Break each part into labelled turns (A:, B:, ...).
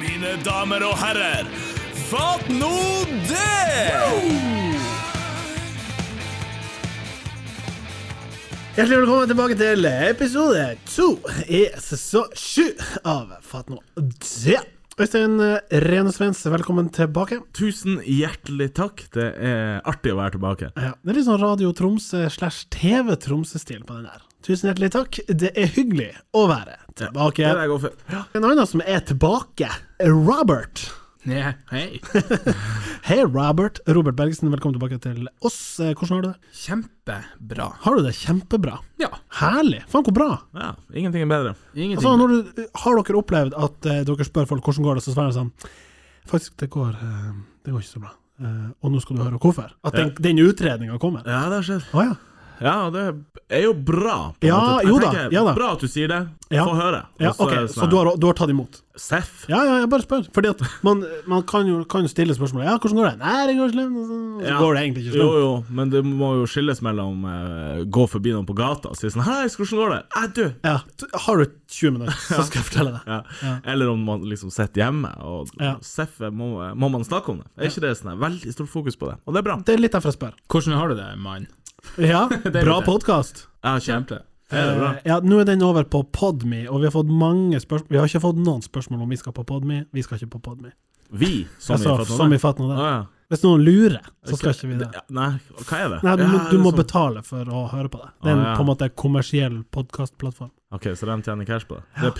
A: mine damer og herrer. Fatt nå det!
B: Hjertelig velkommen tilbake til episode to i sesong sju av Fatt nå det. Øystein eh, Rene Svens, velkommen tilbake.
A: Tusen hjertelig takk. Det er artig å være tilbake.
B: Ja, det er litt sånn Radio Tromsø slash TV Tromsø-stil på den her. Tusen hjertelig takk. Det er hyggelig å være
A: Det
B: tilbake.
A: er det jeg går for.
B: En annen som er tilbake, er Robert.
C: Ja, hei.
B: Hei, Robert. Robert Bergesen, velkommen tilbake til oss. Eh, Hvordan har du det?
C: Kjempebra.
B: Har du det kjempebra?
C: Ja.
B: Herlig. Faen, hvor bra.
A: Ja, ingenting er bedre.
C: Ingenting.
B: Altså, når du, har dere opplevd at eh, dere spør folk hvordan går det, så svarer de sånn Faktisk, det går, eh, det går ikke så bra. Eh, og nå skal du høre hvorfor. At den, den utredninga kommer. Å
A: Ja, det har skjedd.
B: ja.
A: Ja, og det er jo bra. på en
B: Ja,
A: måte. Jeg
B: jo da,
A: tenker,
B: ja da.
A: Bra at du sier det.
B: Ja.
A: Få høre. Og
B: ja ok,
A: er det
B: Så
A: sånn
B: du har, du har tatt imot?
A: Seff.
B: Ja, ja, jeg bare spør. Fordi at man, man kan jo kan jo stille spørsmålet Ja, hvordan går det? Nei, det går slemt. og Så og så
A: Ja.
B: går det egentlig ikke
A: Jo,
B: slemt.
A: jo, men det må jo skilles mellom eh, gå forbi noen på gata og si sånn Hei, hvordan går det? Æ, du!
B: Ja, t- har du 20 minutter, så skal jeg fortelle deg.
A: Ja. Eller om man liksom sitter hjemme, og
B: Ja.
A: seff er- må, eh, må man snakke om det. Er ikke det sånn her? veldig stort fokus på det? Og det er bra.
B: Det er litt derfor jeg spør.
C: Hvordan har du det, mann?
B: Ja,
C: er
B: bra
C: det.
B: podkast.
A: Ja, kjempe.
C: Kjempe.
A: Er det bra?
B: Eh, Ja, nå er den over på Podme, og vi har fått mange spørsmål Vi har ikke fått noen spørsmål om vi skal på Podme. Vi skal ikke på Podme.
A: Vi, som
B: altså,
A: vi
B: som vi fatter nå
A: Å,
B: det.
A: ja.
B: Hvis noen lurer, så skal ikke vi det.
A: Ja, Nei, hva er det?
B: Nei, du,
A: ja,
B: må-
A: det
B: du
A: er
B: må
A: sånn.
B: betale for å høre på det. Det er en
A: Å, ja.
B: på en måte kommersiell podkastplattform.
A: Ok, så de tjener cash på det? Det er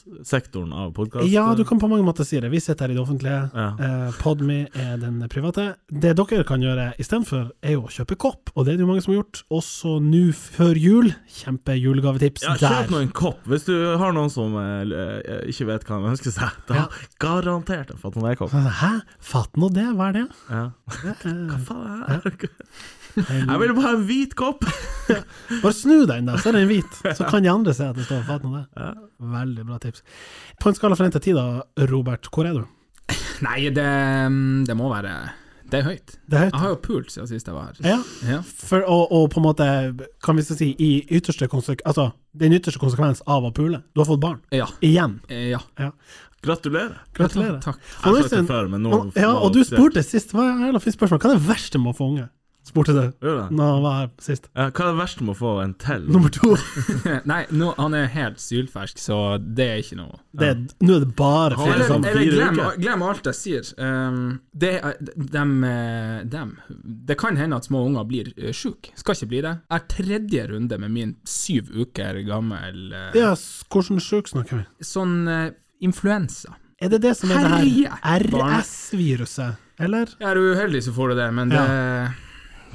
A: privatsektoren av podkast?
B: Ja, du kan på mange måter si det. Vi sitter her i det offentlige.
A: Ja.
B: Eh, Podme er den private. Det dere kan gjøre istedenfor, er jo å kjøpe kopp, og det er det jo mange som har gjort. Også nå før jul. Kjempe julegavetips
A: Ja,
B: der.
A: kjøp nå en kopp, hvis du har noen som eh, eh, ikke vet hva de ønsker seg. Da
B: Ja.
A: garantert har fått en kopp.
B: Hæ, fatt nå det, hva er det?
A: Ja. Hva faen er det her?
B: Eh,
A: Jeg vil bare ha en hvit kopp!
B: Bare snu deg inn der, så er den hvit. Så kan de andre se at det står fatt nå det. Veldig bra tips. På en skala fra 1 til 10 da, Robert, hvor er du?
C: Nei, det, mm, det må være Det er høyt.
B: Det er høyt.
C: Jeg har jo pult siden sist jeg var her.
B: Ja.
C: Ja.
B: For, og, og på en måte, kan vi så si, i ytterste konsek altså, den ytterste konsekvens av å pule. Du har fått barn.
C: Ja.
B: Igjen.
C: Eh, ja.
A: Gratulerer.
B: Gratulerer.
C: Takk.
A: Jeg har
B: Og
A: sagt det
B: Øystein,
A: før, men nå
B: og- ja, og du spurte sist, hva er det fint spørsmål, hva er det verste med å få unge? Spurte du
A: Gjorde jeg?
B: når han var her sist.
A: Ja, Hva er det verste med å få en til?
B: Nummer to,
C: Nei, nå, han er helt sylfersk, så det er ikke noe
B: det er, nå er det bare
A: er
C: Eller,
B: fire
A: det sånn
B: sammen.
C: eller
A: fire
C: glem,
A: uker?
C: glem alt jeg sier. Um, det, er- dem, eh, dem. Det kan hende at små unger blir eh, sjuke. Skal ikke bli det. Jeg er tredje runde med min syv uker gammel eh,
B: Ja, s- hvordan sjuk snakker vi?
C: sånn eh, influensa.
B: Er det det som er det her
C: Herje, barn.
B: RS-viruset, eller?
C: Er du uheldig, så får du det, men det,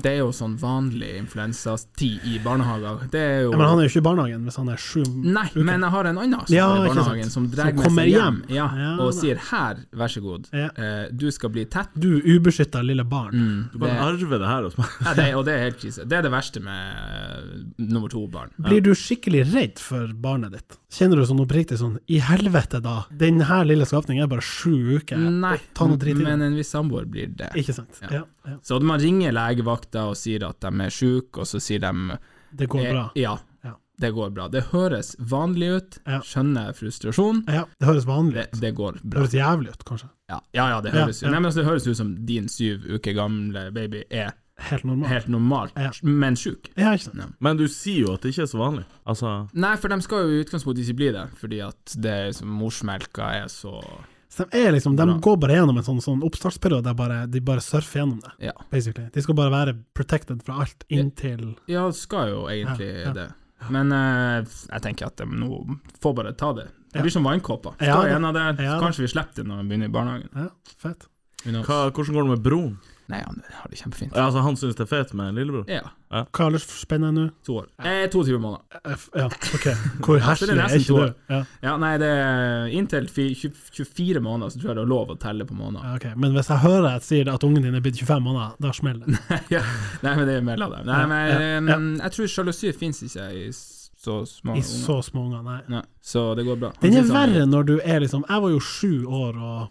C: det er jo sånn vanlig influensastid i barnehager. Det er jo
B: Ja, men han er jo ikke i barnehagen hvis han er sju
C: Nei,
B: uker.
C: men jeg har en annen som
B: Ja,
C: er i
B: ikke sant.
C: barnehagen, som drar
B: Som
C: med
B: kommer
C: seg hjem,
B: hjem.
C: Ja,
B: Ja,
C: og
B: da.
C: sier 'her, vær så god,
B: Ja.
C: eh, du skal bli tett'.
B: Du ubeskytta lille barn.
C: Mm,
A: Du
C: det,
A: kan arve det her hos meg.
C: ja, det, og det er helt krise. Det er det verste med eh, nummer to-barn.
B: Blir du skikkelig redd for barnet ditt? Kjenner du sånn oppriktig sånn I helvete, da! Den her lille skapningen er bare sju uker.
C: Nei,
B: Ta noe drit i det.
C: men en viss samboer blir det.
B: Ikke sant? Ja.
C: Ja.
B: Ja,
C: Så man ringer legevakta og sier at de er sjuke, og så sier de
B: Det går
C: Eh,
B: bra.
C: Ja,
B: Ja.
C: det går bra. Det høres vanlig ut,
B: Ja.
C: skjønner frustrasjon.
B: Ja, det høres vanlig
C: Det,
B: ut.
C: det går
B: Det
C: bra.
B: høres jævlig ut, kanskje.
C: Ja, ja, ja det
B: Ja,
C: høres
B: ja.
C: ut Nei, men altså, Det høres ut som din syv uker gamle baby er
B: Helt normalt.
C: helt normalt,
B: Ja.
C: men sjuk.
B: Ja, ikke sant.
A: Men du sier jo at det ikke er så vanlig. Altså
C: Nei, for de skal jo i utgangspunktet ikke bli det, fordi at det er som morsmelka er så
B: Så de er liksom, de
C: Bra.
B: går bare gjennom en sånn, sånn oppstartsperiode der bare, de bare surfer gjennom det,
C: Ja,
B: basically. De skal bare være protected fra alt inntil
C: ja det skal jo egentlig
B: Ja, ja.
C: det. Men eh, jeg tenker at de nå får bare ta det.
B: Ja.
C: Det blir som vannkåper. Ta
B: Ja, det-
C: en av det,
B: ja,
C: kanskje vi slipper det når de begynner i barnehagen.
B: Ja, fett.
C: Who knows?
A: hva, Hvordan går det med broren?
C: Nei, han har det kjempefint.
A: Altså, han syns det er fett med lillebror?
C: Ja,
B: Hva ellers spenner jeg nå?
C: to år. Eh, 22 måneder.
B: F- Ja, ok. Hvor
C: Altså,
B: herselig
C: det er
B: er
C: nesten
B: ikke
C: to
B: du?
C: år.
B: Ja,
C: Ja, nei, det er inntil fi- tjue- 24 måneder så tror jeg det er lov å telle på måneder.
B: ja, ok. Men hvis jeg hører at sier at ungen din er blitt 25 måneder, da smeller det.
C: Nei, men det er mellom dem. Nei,
B: Ja,
C: men
B: ja,
C: em,
B: ja.
C: jeg tror sjalusi fins ikke i s- så små
B: I
C: unger.
B: så små unger, nei.
C: Nei, så det går bra. Altså,
B: Den
C: Han
B: er
C: synes
A: sånn
C: han-
B: verre når du er liksom Jeg var jo sju år og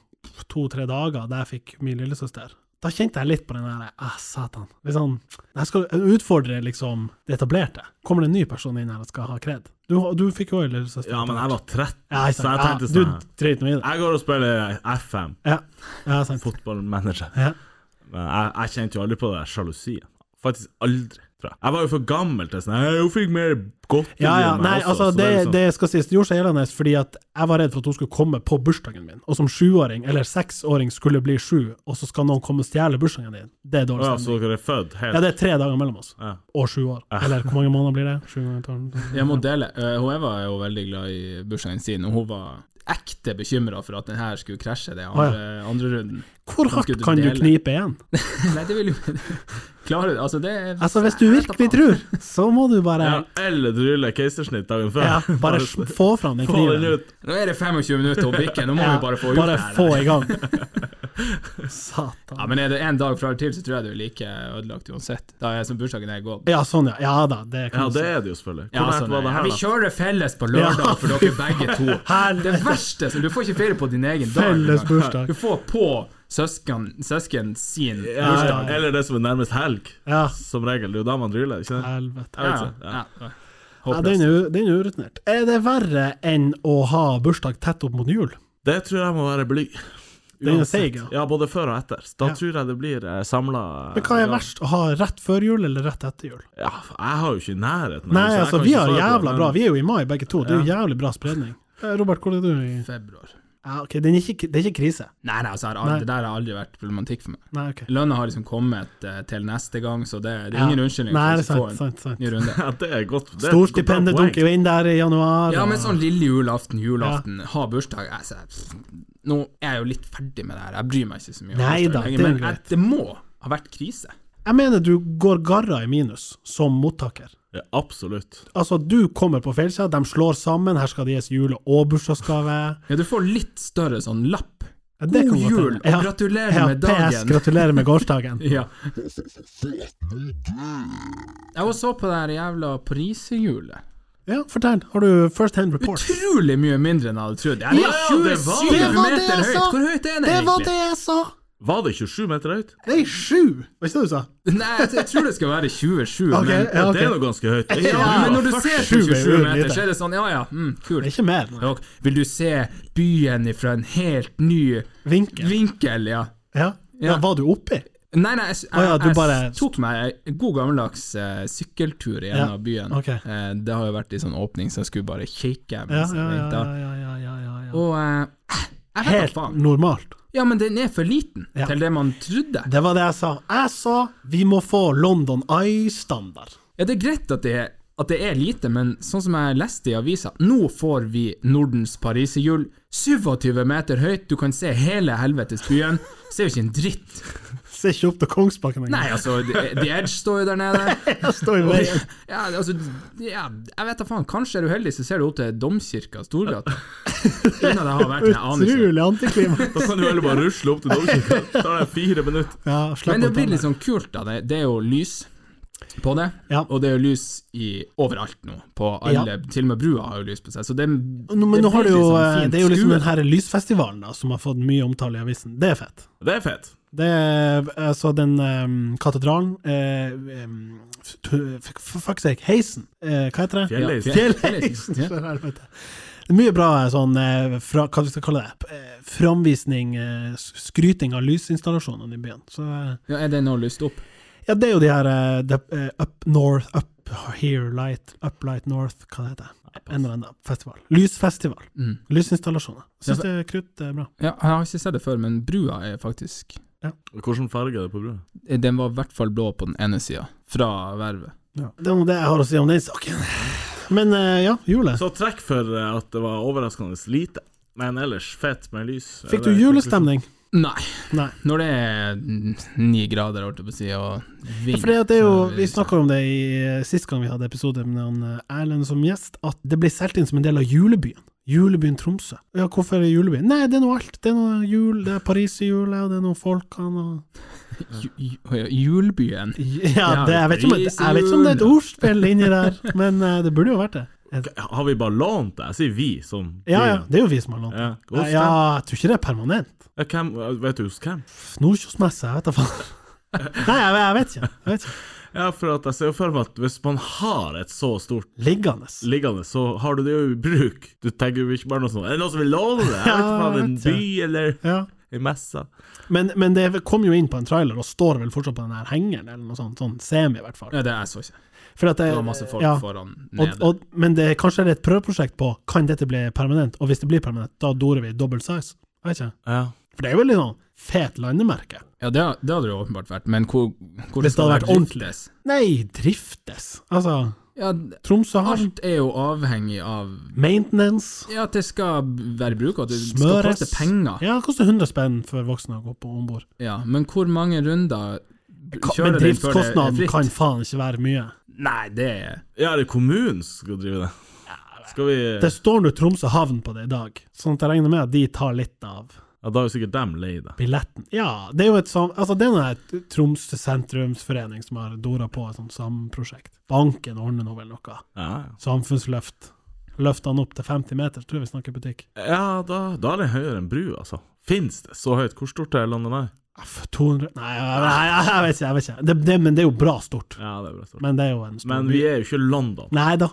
B: to-tre dager da jeg fikk min lillesøster. Da kjente jeg litt på den der ah, satan. Litt sånn, jeg skal utfordre liksom det etablerte. Kommer det en ny person inn her og skal ha kred? Du, du fikk jo øyeløsest
A: Ja, men jeg var 13,
B: ja, ikke
A: så jeg
B: sant.
A: tenkte
B: ja,
A: sånn
B: Du dreit nå i det.
A: Jeg går og spiller FM,
B: Ja, ja sant.
A: fotballmanager.
B: Ja.
A: Men jeg, jeg kjente jo aldri på det der sjalusien. Faktisk aldri, tror jeg. Jeg var jo for gammel til sånn «Nei, Hun fikk mer godt
B: Ja, ja,
A: enn meg
B: nei,
A: også»,
B: altså,
A: så
B: det,
A: er liksom-
B: det skal sies, det gjorde seg gjeldende fordi at jeg var redd for at hun skulle komme på bursdagen min, og som sjuåring, eller seksåring, skulle bli sju, og så skal noen komme og stjele bursdagen din. Det er
A: Å
B: dårlig
A: ja, så
B: stemning.
A: dere er født helt
B: Ja, det er tre dager mellom oss,
A: Ja.
B: og sju år. Eller hvor mange måneder blir det? Sju ganger tolv?
C: Jeg må dele. Eh, hun Eva er jo veldig glad i bursdagen sin, og hun var ekte bekymra for at den her skulle krasje den andre, andre runden.
B: Hvor
C: Kan ikke
B: hardt
C: du
B: kan du
C: dele?
B: knipe igjen?
C: Nei, det vil jo Klarer du Altså, det er
B: Altså, hvis du virkelig tror, så må du bare
A: Ja, eller drylle keisersnitt dagen før.
B: ja, bare s- få fram den
A: Få den
B: kniven.
A: ut.
C: Nå er det 25 minutter og bikker, nå må
B: Ja,
C: vi bare få gjort
B: bare
C: det her.
B: få i gang.
C: Ja,
B: Satan.
C: men er det en dag fra eller til, så tror jeg du er like ødelagt uansett. Da er som bursdagen er gått.
B: Ja, sånn, ja. Ja da, det
A: Ja,
B: kan du si.
A: det er det jo selvfølgelig.
C: Ja,
A: Hvor nært
C: sånn,
A: var det
C: ja,
A: her,
C: vi
A: da?
C: kjører felles på lørdag
B: Ja,
C: for dere begge to. Det
B: Helvete.
C: verste som Du får ikke feire på din egen dag.
B: Felles
C: engang.
B: bursdag.
C: Du får på søsken, søsken sin
A: Ja, ja,
C: bursdag.
A: eller det som er nærmest helg,
B: Ja,
A: som regel. Det er jo da man dryller, ikke sant?
B: helvete.
A: Jeg vet ikke.
C: Ja, ja.
B: Ja, den
C: Håpløst.
B: er, u- den er urutinert. Er det verre enn å ha bursdag tett opp mot jul?
A: Det tror jeg må være bly.
B: Den er
A: Uansett.
B: seig, ja.
A: Ja, både før og etter. Da
B: Ja.
A: tror jeg det blir eh, samla
B: Men hva er verst, å ha rett før jul eller rett etter jul?
A: Ja, jeg har jo ikke i nærheten. av det,
B: Nei,
A: så jeg
B: altså,
A: kan
B: vi
A: ikke
B: har
A: svare på det,
B: jævla
A: men-
B: bra. Vi er jo i mai, begge to. Det er jo jævlig bra spredning. Eh, Robert, hvor er du i
C: Februar.
B: ja, Ok, den er ikke, det er ikke krise.
C: Nei, nei, altså, jeg har
B: Nei.
C: aldri, det der har aldri vært problematikk for meg.
B: Nei, ok.
C: Lønna har liksom kommet eh, til neste gang, så det, det er ingen
B: Ja.
C: unnskyldning
B: Nei,
C: for
B: det
C: å
B: er sant,
C: få en
B: sant, sant.
C: ny runde.
A: Ja, det er godt. Det er et godt
B: Storstipendet
A: poeng.
B: dunker jo inn der i januar.
C: Ja,
B: og-
C: men sånn lille julaften, julaften, ha bursdag altså, pff, Nå er jeg jo litt ferdig med det her, jeg bryr meg ikke så mye. om
B: Nei
C: bursdag
B: da,
C: lenger,
B: det er
C: men
B: greit.
C: jeg- det må ha vært krise.
B: Jeg mener du går garra i minus som mottaker.
A: Ja, absolutt.
B: Altså, du kommer på feilsida, de slår sammen, her skal det gis jule- og bursdagsgave.
C: Ja, du får litt større sånn lapp.
B: Ja, det
C: God
B: kan godt
C: jul,
B: hende. Ja.
C: og gratulerer
B: Ja,
C: med
B: PS,
C: dagen!
B: gratulerer med gårsdagen.
C: Ja. Jeg var så på det her jævla prisehjulet.
B: Ja, fortell. Har du first hand report?
C: Utrolig mye mindre enn jeg hadde trodd. Jeg
B: Ja,
A: det var-
C: 27
B: det var det
C: meter
B: jeg
C: høyt!
B: sa.
C: Hvor høyt er det,
B: Det var
C: egentlig?
B: det jeg sa!
A: Var det 27 meter høyt?
B: Nei, sju! Var ikke det du sa?
C: Nei, jeg, jeg tror det skal være 27,
B: Ok,
C: men
B: ja, ok.
A: Det er noe ganske høyt.
B: Ja,
C: ja, men når du ser på
B: 27
C: 27 meter,
B: lite.
C: så er det sånn, ja ja, mm,
B: Det er
C: kult.
B: ikke mer. nei.
C: Og vil du se byen ifra en helt ny
B: Vinkel.
C: vinkel, ja?
B: Ja. ja, var du oppi?
C: Nei, nei, jeg,
B: Å
C: jeg,
B: ja, du bare-
C: jeg tok meg en god gammeldags eh, sykkeltur
B: Ja,
C: gjennom byen.
B: ok.
C: Eh, det har jo vært i sånn åpning, så jeg skulle bare kikke.
B: Ja,
C: mens jeg
B: ja, ja.
C: ventet.
B: ja, ja, ja, ja, ja.
C: Og eh, jeg vet
B: Helt
C: da faen.
B: normalt.
C: Ja, men den er for liten
B: Ja.
C: til det man trodde.
B: Det var det jeg sa. Jeg sa vi må få London Eye-standard.
C: Ja, det er greit at det er, at det er lite, men sånn som jeg leste i avisa, nå får vi Nordens pariserhjul, 27 meter høyt, du kan se hele helvetes byen. Ser jo ikke en dritt.
B: Se ikke opp til Kongsbakken
C: Nei,
B: engang.
C: altså, The The Edge står jo der nede.
B: Jeg står i veien.
C: Ja, altså, ja, jeg vet da faen, kanskje er du heldig så ser du opp til Domkirka, Storgata. Uten at jeg har vært der, jeg aner ikke.
B: Utrolig antiklima.
A: Da kan du heller bare rusle opp til domkirka. Det tar deg fire minutter.
B: Ja,
C: Men
B: slapp
C: det
B: av.
C: blir
B: Tanne.
C: litt sånn kult, da. Det, det er jo lys på det,
B: Ja.
C: og det er jo lys i, overalt nå. På alle, Til og med brua har jo lys på seg. Så det,
B: Nå, men nå har du jo,
C: blir litt sånn
B: eh,
C: fint
B: det er jo liksom
C: skue.
B: den her lysfestivalen da, som har fått mye omtale i avisen. Det er fett.
A: Det er fett.
B: Det er altså den eh, katedralen eh, em, f- f- For fuck's sake, heisen! Eh, hva heter det?
A: Fjell. Fjellheisen.
B: Fjellheisen!
C: Ja.
B: for helvete. Det er mye bra eh, sånn eh, fra, Hva vi skal kalle det? p- eh, Framvisning, eh, s- skryting av lysinstallasjonene i byen. Så eh,
C: Ja, er det nå lyst opp?
B: ja, det er jo de her eh, de, eh, Up North, Up Here Light, Up Light North, hva det heter det? En eller annen festival. Lysfestival.
C: Mm.
B: Lysinstallasjoner. Syns
C: Ja,
B: det krutt er bra.
C: Ja, jeg har ikke sett det før, men brua er faktisk
A: Hvilken farge er det på brua?
C: Den var i hvert fall blå på den ene sida, fra vervet.
B: Det er nå det jeg har å si om den saken. Men eh, ja, julet.
A: Så trekk for eh, at det var overraskende lite, men ellers fett med lys.
B: Fikk
A: Er
B: du
A: det-
B: julestemning?
C: Nei.
B: Nei.
C: Når det er ni grader, holdt jeg på å si, og vind
B: For det, at det er jo,
C: så-
B: Vi snakka om det i eh, sist gang vi hadde episode med han, eh, Erlend som gjest, at det blir solgt inn som en del av julebyen. Julebyen Tromsø. Ja, hvorfor er det julebyen? Nei, det er noe alt. Det er noe jul, det er pariserhjulet, og det er noe folkene og
C: Ju- ju- Julbyen.
B: Ja, det, jeg, vet ikke om det, jeg vet ikke om det er et ordspill inni der, men eh, det burde jo vært det.
A: Har vi bare lånt det? Jeg sier vi, sånn.
B: Ja, ja, det er jo vi som har lånt.
A: ja.
B: Ja,
A: Hos
B: ja,
A: dem?
B: jeg tror ikke det er permanent.
A: Ja, hvem, eh, vet du hos hvem?
B: Nordkjosmesse, jeg vet da faen. Nei, jeg, jeg vet ikke. Jeg vet ikke.
A: Ja, for at jeg ser jo for meg at hvis man har et så stort
B: Liggende.
A: liggende, så har du det jo i bruk. Du tenker jo ikke bare noe sånt Er det noen som vil låne det? Jeg vet ikke
B: Ja,
A: faen, en
B: jeg vet
A: by eller
B: Ja.
A: en messe?
B: Men, men det kom jo inn på en trailer, og står vel fortsatt på den her hengeren, eller noe sånt. Sånn semi, i hvert fall.
C: Ja, det jeg så ikke.
B: For at det,
C: Det var masse folk
B: ja.
C: foran nede.
B: Og, og, men det, kanskje det er et prøveprosjekt på kan dette bli permanent, og hvis det blir permanent, da dorer vi double size. Jeg vet ikke.
A: Ja.
B: For det er jo veldig sånn fet landemerke.
C: ja, det, det hadde det jo åpenbart vært, men hvor, hvor
B: Hvis det hadde vært ordentlig.
C: driftes?
B: Nei, driftes. Altså,
C: Ja,
B: Tromsø har
C: alt er jo avhengig av
B: maintenance.
C: ja, at det skal være bruk, og at det skal
B: Smøres.
C: koste penger.
B: Ja, det koster 100 spenn for voksne å gå på om bord.
C: Ja, men hvor mange runder
B: Men
C: kjører den før det er
B: driftskostnaden
C: fritt?
B: kan faen ikke være mye.
C: Nei, det er
A: ja, er det kommunen som skal drive det? Skal vi
B: Det står nå Tromsø havn på det i dag, sånn at jeg regner med at de tar litt av
A: Ja, da er jo sikkert dem lei det.
B: billetten. Ja, det er jo et sånn Altså, det er noe her Tromsø sentrumsforening som har dora på et sånt samprosjekt. Banken ordner nå vel noe.
A: Ja,
B: Samfunnsløft. Løfter han opp til 50 meter, så tror jeg vi snakker butikk.
A: ja. ja da, da er det høyere enn bru, altså. Fins det så høyt? Hvor stort er landet der?
B: Aff, 200 Nei, jeg, jeg, jeg, jeg vet ikke. Jeg vet ikke. Det, det, men det er jo bra stort.
A: Ja, det er bra stort.
B: Men det er jo en stor
A: Men vi er jo ikke London,
B: Nei da.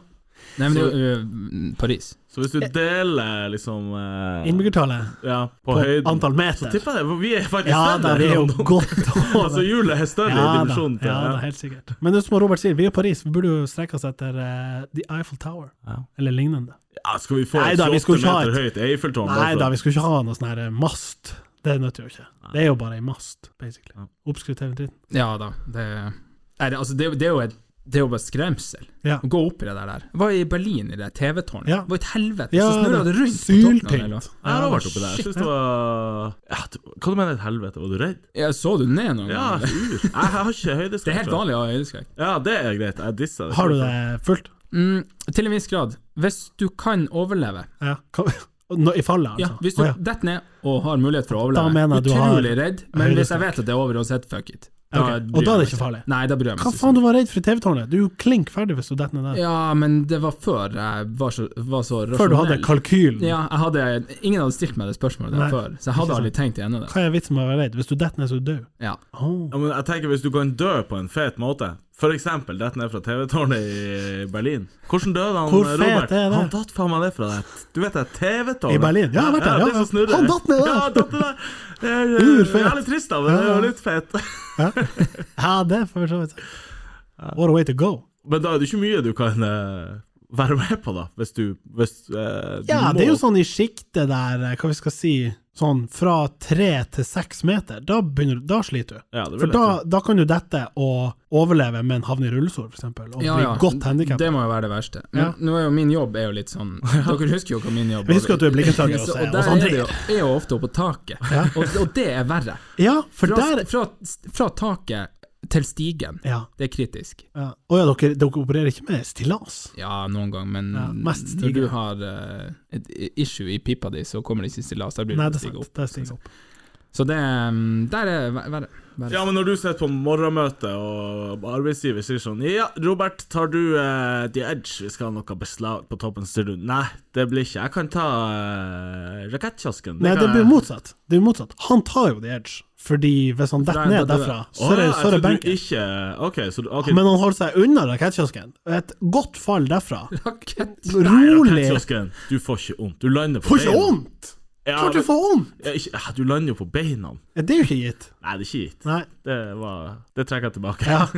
C: Nei, men det er jo øh, Paris.
A: så hvis du deler liksom eh,
B: Innbyggertallet
A: ja, på,
B: på
A: høyden
B: antall meter.
A: Tipper jeg det, for vi er faktisk
B: Ja da,
A: større
B: vi
A: enn
B: er jo
A: London.
B: godt
A: Altså,
B: over.
A: hjulet er større i
B: Ja da,
A: dimensjonen til
B: ja da, helt sikkert. Men det er som Robert sier, vi er i Paris. Vi burde jo strekke oss etter eh, The Eiffel Tower,
A: Ja.
B: eller lignende.
A: Ja, skal vi få
B: Nei
A: et
B: da, vi
A: 28
B: skulle ikke ha
A: meter høyt Eiffeltårn? altså?
B: Nei
A: bare
B: da,
A: for-
B: vi skulle ikke ha noe sånn her eh, mast. Det nytter jo ikke. Det er jo bare ei mast, basically.
A: Ja.
B: Oppskrytt hele tiden.
C: Ja da. Det, nei, det, altså, det, er jo- det er jo et det er jo bare skremsel
B: Ja.
C: å gå opp i det der. der. Var i Berlin, i det TV-tårnet.
B: Ja.
C: Det var et helvete.
B: Ja,
C: så snurra
B: det-
C: det rundt. på toppen av det, eller?
B: Syltynt.
A: Jeg har vært oppi der. Jeg synes det var ja, du- Hva du mener et helvete? Var du redd?
C: Ja, så du ned noen
A: Ja,
C: ganger?
A: ur. Jeg har ikke høydeskrekk.
C: Det er helt
A: tror jeg.
C: vanlig å ha øyeskrekk.
A: Ja, det er greit. Jeg dissa det.
B: Har du det fullt?
C: Mm, til en viss grad. Hvis du kan overleve
B: Ja. Kan- Nå- I fallet, altså?
C: Ja, hvis du
B: Å, ja.
C: detter ned og har mulighet for å
B: Da
C: overleve,
B: mener jeg du har
C: utrolig redd, men hvis jeg vet at det er over uansett, fuck it.
B: Ok, og da
C: bryr
B: er det
C: jeg meg
B: ikke farlig.
C: Nei, da bryr jeg meg
B: Hva
C: ikke.
B: faen, du var redd for TV-tårnet? Du er jo klink ferdig hvis du detter ned der.
C: Ja, men det var før jeg var så, var så rasjonell.
B: Før du hadde kalkylen.
C: Ja, jeg hadde, ingen hadde stilt meg det spørsmålet der
B: Nei,
C: før, så jeg hadde
B: ikke
C: aldri tenkt igjennom det.
B: Hva er vitsen med å være redd? Hvis du detter ned, så er du død.
C: Ja.
B: Åh.
A: Ja, men jeg tenker Hvis du kan dø på en fet måte, f.eks. dette ned fra TV-tårnet i Berlin Hvordan døde han,
B: Hvor fet
A: Robert?
B: er det?
A: Han datt faen meg ned fra det. Du vet det
B: I
A: TV-tårnet?
B: Berlin? Ja, jeg har vært der, ja.
A: det som snurrer.
B: Han datt ned der.
A: Ja, han datt ned der. Det er eh,
B: Urfet.
A: jævlig trist, da, men det er
B: Ja,
A: jo
B: ja.
A: litt fett.
B: Ja. ja, det er for så vidt sant. What a way to go.
A: Men da er det ikke mye du kan eh, være med på, da, hvis du hvis, eh, du
B: Ja,
A: må-
B: det er jo sånn i sjiktet der, eh, hva vi skal si, sånn fra tre til seks meter, da, begynner, du- da sliter du.
A: Ja, det
B: For
A: vil jeg tro.
B: da, da kan du dette og overleve, men havne i rullestol, for eksempel, og
C: Ja,
B: bli
C: ja.
B: godt handikappet.
C: Det må jo være det verste. Men
B: Ja.
C: nå er jo min jobb er jo litt sånn Dere husker jo hva min jobb
B: Vi husker at du er blikkenslager
C: Så-
B: hos-
C: og
B: hos
C: der er,
B: André.
C: det jo, er jo ofte oppe på taket,
B: Ja.
C: og, og det er verre.
B: Ja, for
C: Fra,
B: der
C: fra, fra taket til stigen,
B: Ja.
C: det er kritisk.
B: ja. Å ja, dere, dere opererer ikke med stillas?
C: Ja, noen gang, men
B: Ja, mest
C: når
B: stiger.
C: du har eh, et issue i pipa di, så kommer det ikke stillas. Da blir
B: Nei,
C: det
B: det er
C: stige
B: sant.
C: opp.
B: Det er stig opp.
C: Så det mm, Der er ver- verre. verre.
A: Ja, men når du sitter på morgenmøte, og arbeidsgiver sier sånn Ja, Robert, tar du eh, The Edge? Vi skal ha noe beslag på toppen. Så sier du nei, det blir ikke. Jeg kan ta eh, rakettkiosken.
B: Nei, det
A: kan
B: blir
A: jeg-
B: motsatt. Det blir motsatt. Han tar jo the edge, fordi hvis han
C: Da
B: detter
C: er-
B: ned
C: da- da-
B: derfra,
A: Å
B: så er det, så er det
A: ja, jeg trodde du
B: benken.
A: Ikke OK, så du ok,
B: Men han holder seg unna rakettkiosken. Et godt fall derfra.
C: Rakett.
B: Rolig.
A: rakettkiosken. Du får ikke vondt. Du lander på
B: Får ikke vondt!
A: Ja,
B: Klart du
A: men-
B: får vondt!
A: Ja, ikke- ja, du lander jo på beina.
B: Det er jo ikke gitt.
A: Nei, det er ikke gitt.
B: Nei.
A: Det, var, det trekker jeg tilbake.
B: Ja.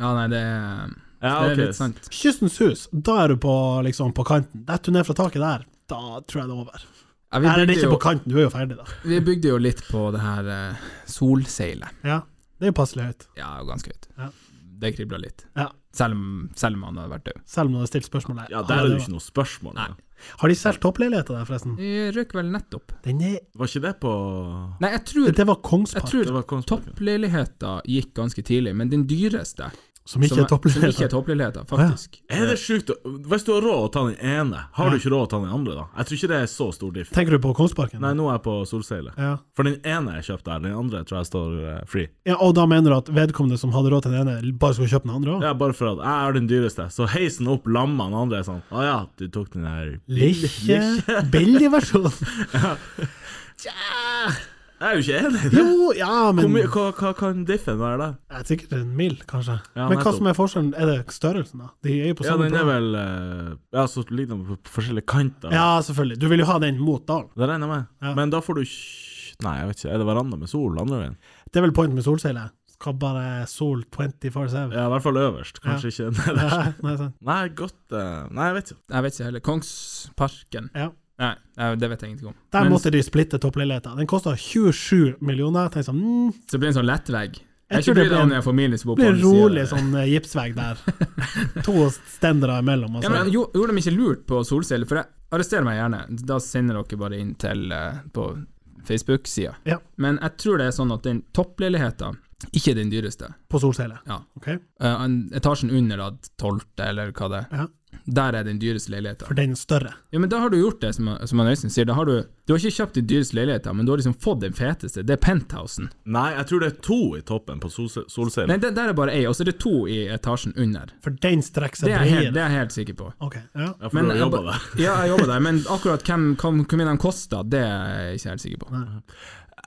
C: Ja, nei, det er,
A: Ja,
C: det
A: ok.
C: er litt sånn sant.
B: Kystens hus, da er du på, liksom, på kanten. Detter du ned fra taket der, da tror jeg det er over.
C: Ja, vi,
B: Eller det er
C: bygde
B: ikke
C: jo,
B: på kanten, du er jo ferdig da.
C: vi bygde jo litt på det her eh, solseilet.
B: Ja. Det er jo passelig høyt.
C: Ja, ganske høyt.
B: Ja.
C: Det kribla litt.
B: Ja.
C: Selv om, selv om han hadde vært død.
B: Selv om du har stilt spørsmål der.
A: Ja, der er det jo ikke noe spørsmål.
C: Nei.
A: ja.
B: Har de solgt toppleiligheter der, forresten?
C: Vi røk vel nettopp.
B: Den er
A: Var ikke det på
C: Nei, jeg tror,
B: Det var
C: jeg
B: Kongspark.
C: tror
A: Det var Kongsberg.
C: toppleiligheta gikk ganske tidlig, men den dyreste
B: Som ikke
C: som,
B: er toppleder.
C: Som ikke er toppleder, faktisk.
A: Er det sjukt? å- Hvis du har råd å ta den ene, har du ikke råd å ta den andre, da? Jeg tror ikke det er så stor diff.
B: Tenker du på Kongsparken?
A: Nei, nå er jeg på solseilet.
B: Ja.
A: For den ene jeg kjøpte her, den andre tror jeg står eh, free.
B: ja, Og da mener du at vedkommende som hadde råd til den ene, bare skulle kjøpe den andre òg?
A: Ja, bare for at jeg er den dyreste. Så heisen opp lamma den andre er sånn Å ja, du tok den her
B: Lille, billig versjon.
A: Tja! Jeg er jo ikke enig i det.
B: Jo, ja,
A: Hvor
B: men
A: mye- Hva, hva kan diffen være da?
B: Ja, Sikkert en mil, kanskje.
A: Ja,
B: men hva
A: nettopp.
B: som er forskjellen? Er det størrelsen, da? De er jo på
A: Ja,
B: samme
A: den er vel eh, Ja, så ligger den på forskjellige kanter.
B: Ja, selvfølgelig. Du vil jo ha den mot dalen.
A: Det regner jeg med.
B: Ja.
A: Men da får du kj- Nei, jeg vet ikke. Er det veranda med sol andre veien?
B: Det er vel point med solseilet? Skal bare sol 24-7.
A: Ja, i hvert fall øverst. Kanskje ikke nederst.
B: Nei, sant.
A: Nei, godt eh, Nei, jeg vet ikke.
C: Jeg vet ikke heller. Kongsparken
B: Ja.
C: Nei, nei, det vet jeg ingenting om.
B: Der
C: Men
B: måtte de splitte toppleiligheten. Den kosta 27 millioner. Jeg tenkte sånn mm,
C: så blir det en sånn lettvegg.
B: Jeg tror
C: Jeg ikke
B: det
C: blir
B: blir
C: det
B: en-
C: når jeg får familie som bor på
B: Blir
C: andre
B: rolig
C: siden.
B: sånn eh, gipsvegg der. to stendere imellom.
C: Ja,
B: Altså.
C: men jo, Gjorde de ikke lurt på solceller? For jeg arresterer meg gjerne. Da sender dere bare inn til eh, på Facebook-sida.
B: Ja.
C: Men jeg tror det er sånn at den toppleiligheten ikke er den dyreste.
B: På solseilet.
C: Ja.
B: Ok?
C: Eh, en- etasjen under da, tolvte, eller hva det er.
B: Ja.
C: Der er den dyreste leiligheten.
B: For den er større.
C: Ja, men da har du gjort det, som, som han Øystein sier. Da har du, du har ikke kjøpt de dyreste leilighetene, men du har liksom fått den feteste. Det er penthousen.
A: Nei, jeg tror det er to i toppen på solse- solseilet.
C: Nei, det, der er bare ei, og så er det to i etasjen under.
B: For den strekker
C: Det
B: seg
C: er jeg helt,
B: bredere.
C: det er jeg helt sikker på.
B: Ok, ja.
A: Ja, for
C: Men
A: du har
C: jeg
A: jobba
C: ba-
A: der.
C: Ja, jeg jobber der, men akkurat hvem, hvem, hvor mye de koster, det er jeg ikke helt sikker på.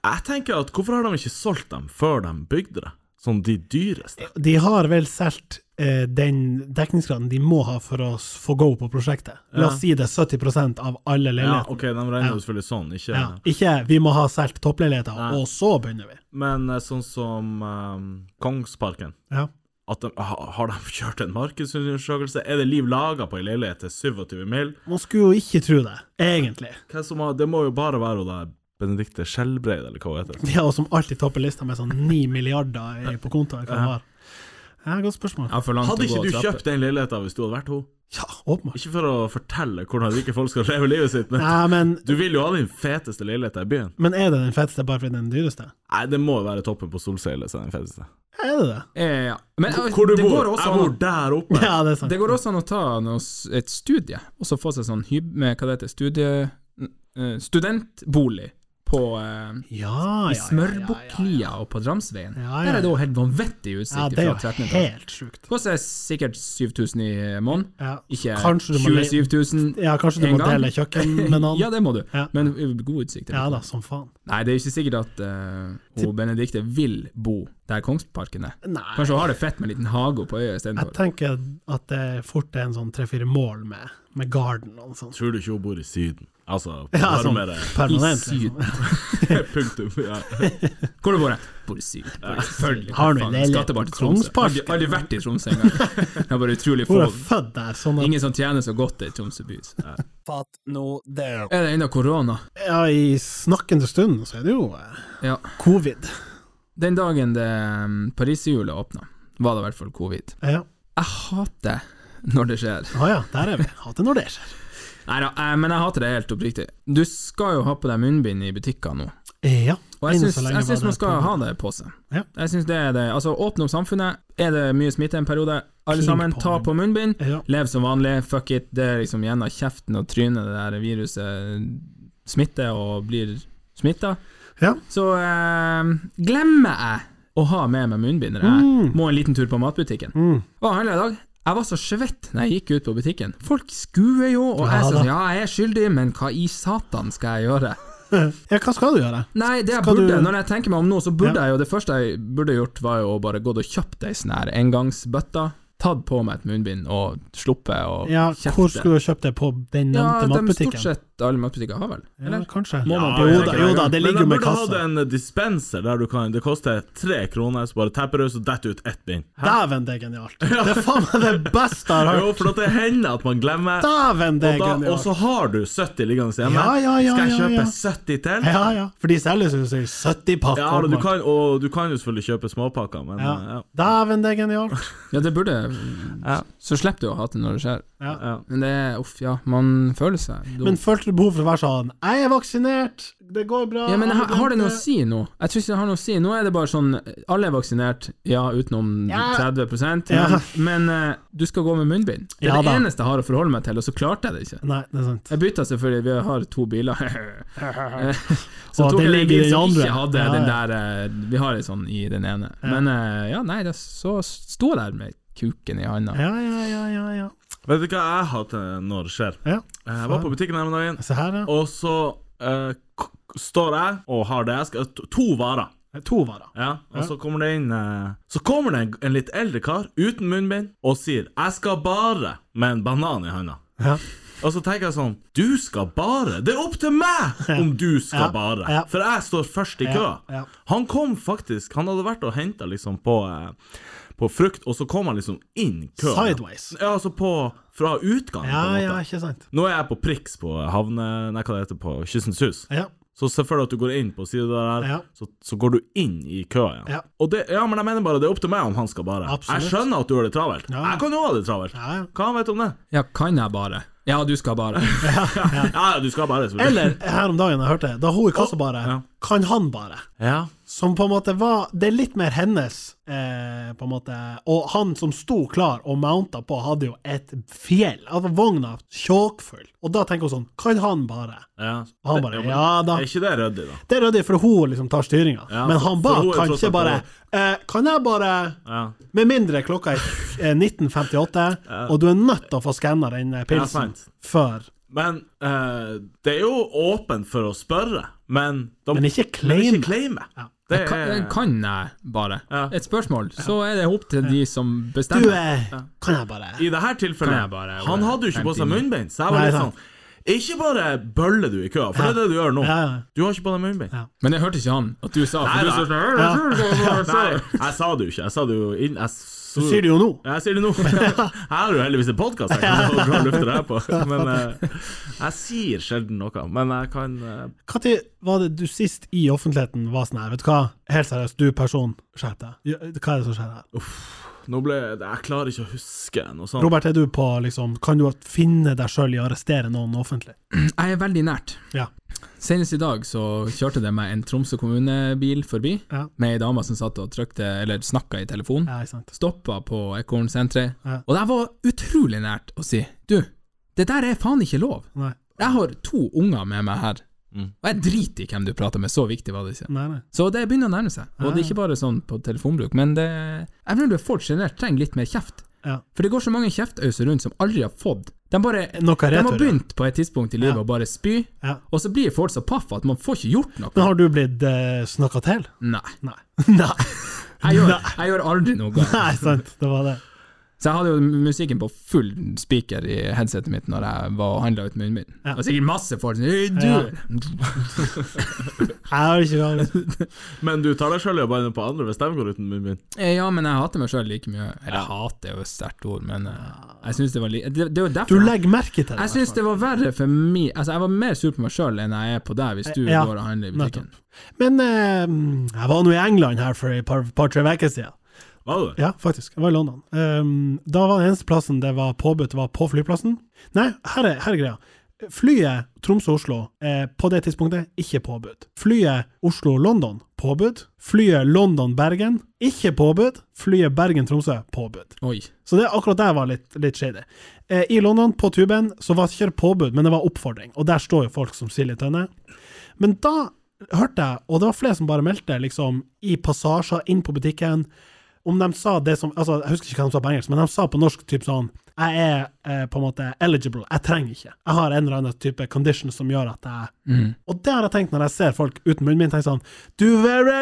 A: Jeg tenker at hvorfor har de ikke solgt dem før de bygde det? Sånn de dyreste.
B: De har vel solgt eh, den dekningsgraden de må ha for å s- få go på prosjektet. La oss si det er 70 av alle
A: Ja,
B: leiligheter.
A: OK, de regner jo selvfølgelig sånn, ikke
B: Ja, ikke 'vi må ha solgt toppleiligheter, og så begynner vi'.
A: Men eh, sånn som eh, Kongsparken.
B: Ja.
A: At de, ha- har de kjørt en markedsundersøkelse? Er det liv laga på ei leilighet til 27 mil?
B: Man skulle jo ikke tro det, egentlig.
A: Hva som har, det må jo bare være hun der Benedicte Skjelbreid, eller hva hun heter.
B: Ja, og som alltid topper lista med sånn 9 milliarder i- på kontoen. Hva de har. Ja, godt spørsmål.
C: Jeg har for langt
A: Hadde
C: å gå
A: ikke du
C: å trappe.
A: kjøpt den leiligheten hvis du hadde vært hun?
B: Ja, åpenbart.
A: Ikke for å fortelle hvordan rike folk skal leve livet sitt, men
B: Nei, men,
A: du vil jo ha den feteste leiligheten i byen.
B: men er det den feteste bare fordi den er den dyreste?
A: Nei, det må jo være toppen på solseilet som er den feteste.
B: Er det det?
C: Eh, ja. Men eh,
A: Hvor du
C: det,
A: bor?
C: går også
A: Jeg
C: an,
A: bor der oppe.
B: Ja, det er
C: å-
B: sant.
C: det går også an å ta noe, s- et studie, og så få seg sånn hyb... Med, hva det heter studie... n- eh, studentbolig på eh,
B: Ja, ja,
C: i
B: ja,
C: Smørbukklia og på Dramsveien.
B: Ja, ja,
C: Der er det
B: ja.
C: jo helt vanvittig utsikt
B: Ja, det er
C: fra 13.
B: jo
C: etasje.
B: helt sjukt.
C: Koster sikkert 7000 i måneden.
B: Ja.
C: Ikke
B: Kanskje du må le-
C: 27 000.
B: Ja, kanskje du
C: En
B: må
C: gang.
B: dele kjøkken med noen.
C: Ja, det må du.
B: Ja.
C: Men god utsikt. er det
B: Ja
C: ikke.
B: da, som faen.
C: Nei, det er ikke sikkert at eh, hun Benedikte vil bo der Kongsparken er.
B: Nei,
C: Kanskje hun har det fett med en liten hage på øya
B: jeg
C: istedenfor.
B: tenker at det fort er en sånn tre-fire mål med, med garden og sånn.
A: Tror du ikke hun bor i Syden? Altså,
B: Ja, sånn
A: varmere
C: I
B: permanent.
C: syd.
B: Liksom.
A: punktum. Ja.
C: Hvor du bor hen? Bor i syd. Ja, selvfølgelig.
B: Har du
C: Faen,
B: leilighet
C: skattebarn
B: på
C: til Tromsø.
B: Kongsparken?
C: Aldri, aldri vært i Tromsø engang. Det er bare utrolig
B: Hvor
C: få.
B: er jeg født der? Sånn at,
C: Ingen som tjener så godt i Tromsø by. så.
B: Fatt nå det.
C: Er det ennå korona?
B: Ja, i snakkende stund så er det jo eh,
C: Ja.
B: covid.
C: Den dagen det mm, pariserhjulet åpna, var det i hvert fall covid.
B: Ja,
C: Jeg hater når det skjer.
B: ah, ja der er vi. Hatt det når det skjer.
C: Nei da, eh, men jeg hater det helt oppriktig. Du skal jo ha på deg munnbind i butikker nå.
B: Eh, Ja.
C: Og jeg
B: Enn
C: syns,
B: så lenge
C: jeg
B: var
C: syns man
B: det
C: skal
B: på-
C: ha det på seg.
B: Ja.
C: Jeg synes det er det. Altså, åpne opp samfunnet. Er det mye smitte en periode, alle
B: Klink
C: sammen,
B: på
C: ta
B: munnbind.
C: på munnbind.
B: Ja.
C: Lev som vanlig, fuck it. Det er liksom gjennom kjeften og trynet det der viruset eh, smitter og blir smitta.
B: Ja.
C: Så eh, glemmer jeg å ha med meg munnbind når jeg må en liten tur på matbutikken.
B: Mm.
C: Hva handler jeg i dag? Jeg var så svett når jeg gikk ut på butikken. Folk skuer jo,
B: Ja
C: og jeg sa
B: da.
C: sånn, ja, jeg er skyldig, men hva i satan skal jeg gjøre?
B: ja, hva skal du gjøre?
C: Nei, det jeg
B: Skal
C: burde,
B: du-
C: når jeg tenker meg om nå, så burde
B: Ja.
C: jeg jo Det første jeg burde gjort, var jo å bare gått og kjøpt ei sånn her engangsbøtte, tatt på meg et munnbind og sluppet å
B: Ja,
C: kjefte.
B: hvor skulle du kjøpt det på den
C: ja,
B: nevnte
C: de stort
B: matbutikken?
C: sett alle matbutikker har vel?
B: Ja,
C: Eller?
B: kanskje.
C: Må man på-
B: jo da, jo da, det
A: Men
B: ligger jo med
A: De burde
B: kassa.
A: hatt en dispenser der du kan Det koster tre kroner, så bare tepper du, så detter ut ett bind.
B: Dæven, det er genialt. Det er faen meg det beste jeg har hørt.
A: Jo, for at det hender at man glemmer.
B: Dæven, det
A: Og,
B: er
A: da, og
B: genialt.
A: så har du 70 liggende hjemme.
B: Ja, ja, ja,
A: Skal jeg
B: ja,
A: kjøpe
B: ja.
A: 70 til?
B: Ja, ja. For de selges jo i 70 pakker.
A: Ja,
B: Ja,
A: og du kan, og du kan jo selvfølgelig kjøpe småpakker, men
B: ja.
A: ja.
B: Dæven, det er genialt.
C: Ja, det burde
A: Ja.
C: Så slipper du å hate det når det skjer.
B: Ja.
A: Ja.
C: Men det er uff, ja. Man føler seg dum.
B: Men følte du ikke behov for å være sånn 'Jeg er vaksinert, det går bra'.
C: Ja, men
B: alle
C: ha- har det noe å
B: glemte».
C: si nå? Jeg tror ikke det har noe å si. Nå er det bare sånn Alle er vaksinert, ja, utenom
B: Ja.
C: 30 men,
B: Ja.
C: men eh, du skal gå med munnbind. Det er
B: Ja
C: det
B: da.
C: eneste jeg har å forholde meg til, og så klarte jeg det ikke.
B: Nei, det er sant.
C: Jeg bytta selvfølgelig, vi har to biler. Eh, så
B: Og
C: tok
B: det
C: jeg den
B: ligger i
C: bilen
B: den
C: som
B: andre.
C: ikke hadde
B: Ja,
C: den
B: ja.
C: der eh, Vi har en sånn i den ene.
B: Ja.
C: Men eh, ja, nei, det, så sto jeg der med kuken i handa.
B: Ja, ja, ja, ja. ja.
A: Vet du hva jeg hater når det skjer?
B: Ja.
A: Jeg var på butikken her om dagen,
B: Se her, ja.
A: og så eh, k- står jeg og har det jeg skal to- To varer.
B: To varer.
A: Ja, og
B: Ja.
A: så kommer det inn eh, Så kommer det en, en litt eldre kar uten munnbind og sier 'Jeg skal bare' med en banan i handa.
B: Ja.
A: Og så tenker jeg sånn Du skal bare! Det er opp til meg om du
B: Ja,
A: skal bare!
B: ja.
A: For jeg står først i
B: Ja,
A: køa.
B: ja.
A: Han kom faktisk Han hadde vært og henta liksom på, eh, på frukt, og så kom han liksom inn køa.
B: Sideways.
A: Ja, altså på Fra utgangen,
B: Ja,
A: på en
B: ja,
A: måte.
B: ikke sant.
A: Nå er jeg på Prix på havne... Nei, hva det heter på Kystens Hus.
B: Ja.
A: Så se for deg at du går inn på siden der,
B: Ja.
A: så, så går du inn i køa igjen.
B: Ja.
A: Og det, ja, men jeg mener bare det er opp til meg om han skal bare.
B: Absolutt.
A: Jeg skjønner at du har det travelt.
B: Ja.
A: Jeg kan jo ha det travelt.
B: Ja, ja.
A: Hva han vet om det?
C: Ja, kan jeg bare? Ja, du skal bare.
A: Ja, ja, du skal bare. selvfølgelig.
B: Eller, her om dagen, jeg hørte, da hun i kassa bare
A: Ja.
B: Kan han bare?
A: Ja.
B: Som på en måte var Det er litt mer hennes, eh, på en måte. Og han som sto klar og mounta på, hadde jo et fjell. Altså vogna tjåkfull. Og da tenker hun sånn Kan han bare?
A: ja.
B: Og han bare
A: men
B: Ja da.
A: Er ikke det ryddig, da?
B: Det er ryddig, for hun liksom tar styringa.
A: Ja,
B: Men
A: for-
B: han
A: for
B: bak
A: hun er
B: kan
A: tross
B: ikke
A: alt
B: bare eh, Kan jeg bare
A: Ja.
B: Med mindre klokka er eh, 19.58, og du er nødt til å få skanna den eh,
A: Ja,
B: pilsen
A: sant.
B: før
A: Men eh, det er jo åpent for å spørre, men de,
B: Men ikke
A: men
B: claim.
A: ikke claime.
B: Ja.
A: Det
C: Jeg kan, jeg kan jeg bare?
A: Ja.
C: Et spørsmål, så er det opp til de som
B: Du,
C: bestemmer.
B: eh, kan jeg bare
A: I det her tilfellet
C: Kan jeg bare-
A: Han hadde jo ikke på seg munnbind, så jeg var
B: Nei,
A: litt
B: sant.
A: sånn Ikke bare bøller du i køa, for det er det du gjør nå.
B: Ja, ja.
A: Du har ikke på deg munnbind.
B: Ja.
C: Men jeg hørte ikke han at du sa
A: Nei,
C: for du
A: nei.
C: sa sånn, «Øh, jeg tror det var
A: Nei,
C: sånn».
A: jeg sa det jo ikke. Jeg sa det jo inn... Jeg så,
B: Du sier det jo nå.
A: Jeg sier det nå. Jeg har jo heldigvis en podkast jeg kan få bra luft til det her på. Men eh, jeg sier sjelden noe. Men jeg kan eh,
B: Når var det du sist i offentligheten var sånn her, vet du hva, helt seriøst, du person, skjerp deg. Ja, Hva er det som skjer her?
A: Nå ble Jeg klarer ikke å huske noe sånt.
B: Robert, er du på liksom, kan du finne deg sjøl i å arrestere noen offentlig?
C: Jeg er veldig nært.
B: Ja.
C: Senest i dag så kjørte det meg en Tromsø kommunebil forbi,
B: Ja.
C: med ei dame som satt og trykte, eller snakka i telefonen.
B: Ja, ikke sant.
C: Stoppa på Ekornsenteret,
B: Ja.
C: og det var utrolig nært å si Du, det der er faen ikke lov.
B: Nei.
C: Jeg har to unger med meg her,
A: Mm.
C: og jeg driter i hvem du prater med, så viktig var det ikke.
B: Nei, nei.
C: Så det begynner å nærme seg. Og det er ikke bare sånn på telefonbruk, men det Jeg mener at folk generelt trenger litt mer kjeft.
B: Ja.
C: For det går så mange kjeftauser rundt som aldri har fått. De bare
B: Noe
C: De
B: retur,
C: har
B: ja.
C: begynt på et tidspunkt i livet
B: Ja.
C: å bare spy,
B: Ja.
C: og så blir folk så paff at man får ikke gjort noe.
B: Men har du blitt eh, snakka til?
C: Nei.
B: Nei. nei.
C: Jeg gjør, jeg gjør aldri noe galt.
B: Nei, sant, det var det.
C: Så jeg hadde jo musikken på full speaker i headsetet mitt når jeg var og handla ut munnen min.
B: Ja.
C: Og sikkert masse folk som «Øy, du.
B: Jeg har ikke vært
A: Men du tar deg sjøl i å banne på andre hvis de går uten munnbind.
C: Eh, Ja, men jeg hater meg sjøl like mye. Eller hater er jo et sterkt ord, men eh, jeg syns det var li... Det, det er jo
B: Du
C: derfor
B: legger merke til det.
C: Jeg syns det var verre for meg Altså, jeg var mer sur på meg sjøl enn jeg er på deg, hvis du
B: Eh, Ja,
C: går og handler i butikken.
B: Men eh, jeg var nå i England her for et par-tre par, tre uker siden.
A: Var det det?
B: Ja, faktisk. Jeg var i London. Ehm, da var den eneste plassen det var påbudt, var på flyplassen. Nei, her er, her er greia. Flyet Tromsø-Oslo eh, på det tidspunktet ikke påbudt. Flyet Oslo-London påbudt. Flyet London-Bergen ikke påbudt. Flyet Bergen-Tromsø påbudt.
C: Oi.
B: Så det akkurat der var litt, litt shady. Eh, I London, på tuben, så var det ikke påbud, men det var oppfordring. Og der står jo folk som sild i tønne. Men da hørte jeg, og det var flere som bare meldte, liksom, i passasjer, inn på butikken, om de sa det som Altså, jeg husker ikke hva de sa på engelsk, men de sa på norsk typ sånn Jeg er eh, på en måte eligible, jeg trenger ikke. Jeg har en eller annen type condition som gjør at jeg Og det har jeg tenkt når jeg ser folk uten munnbind, tenker sånn Du være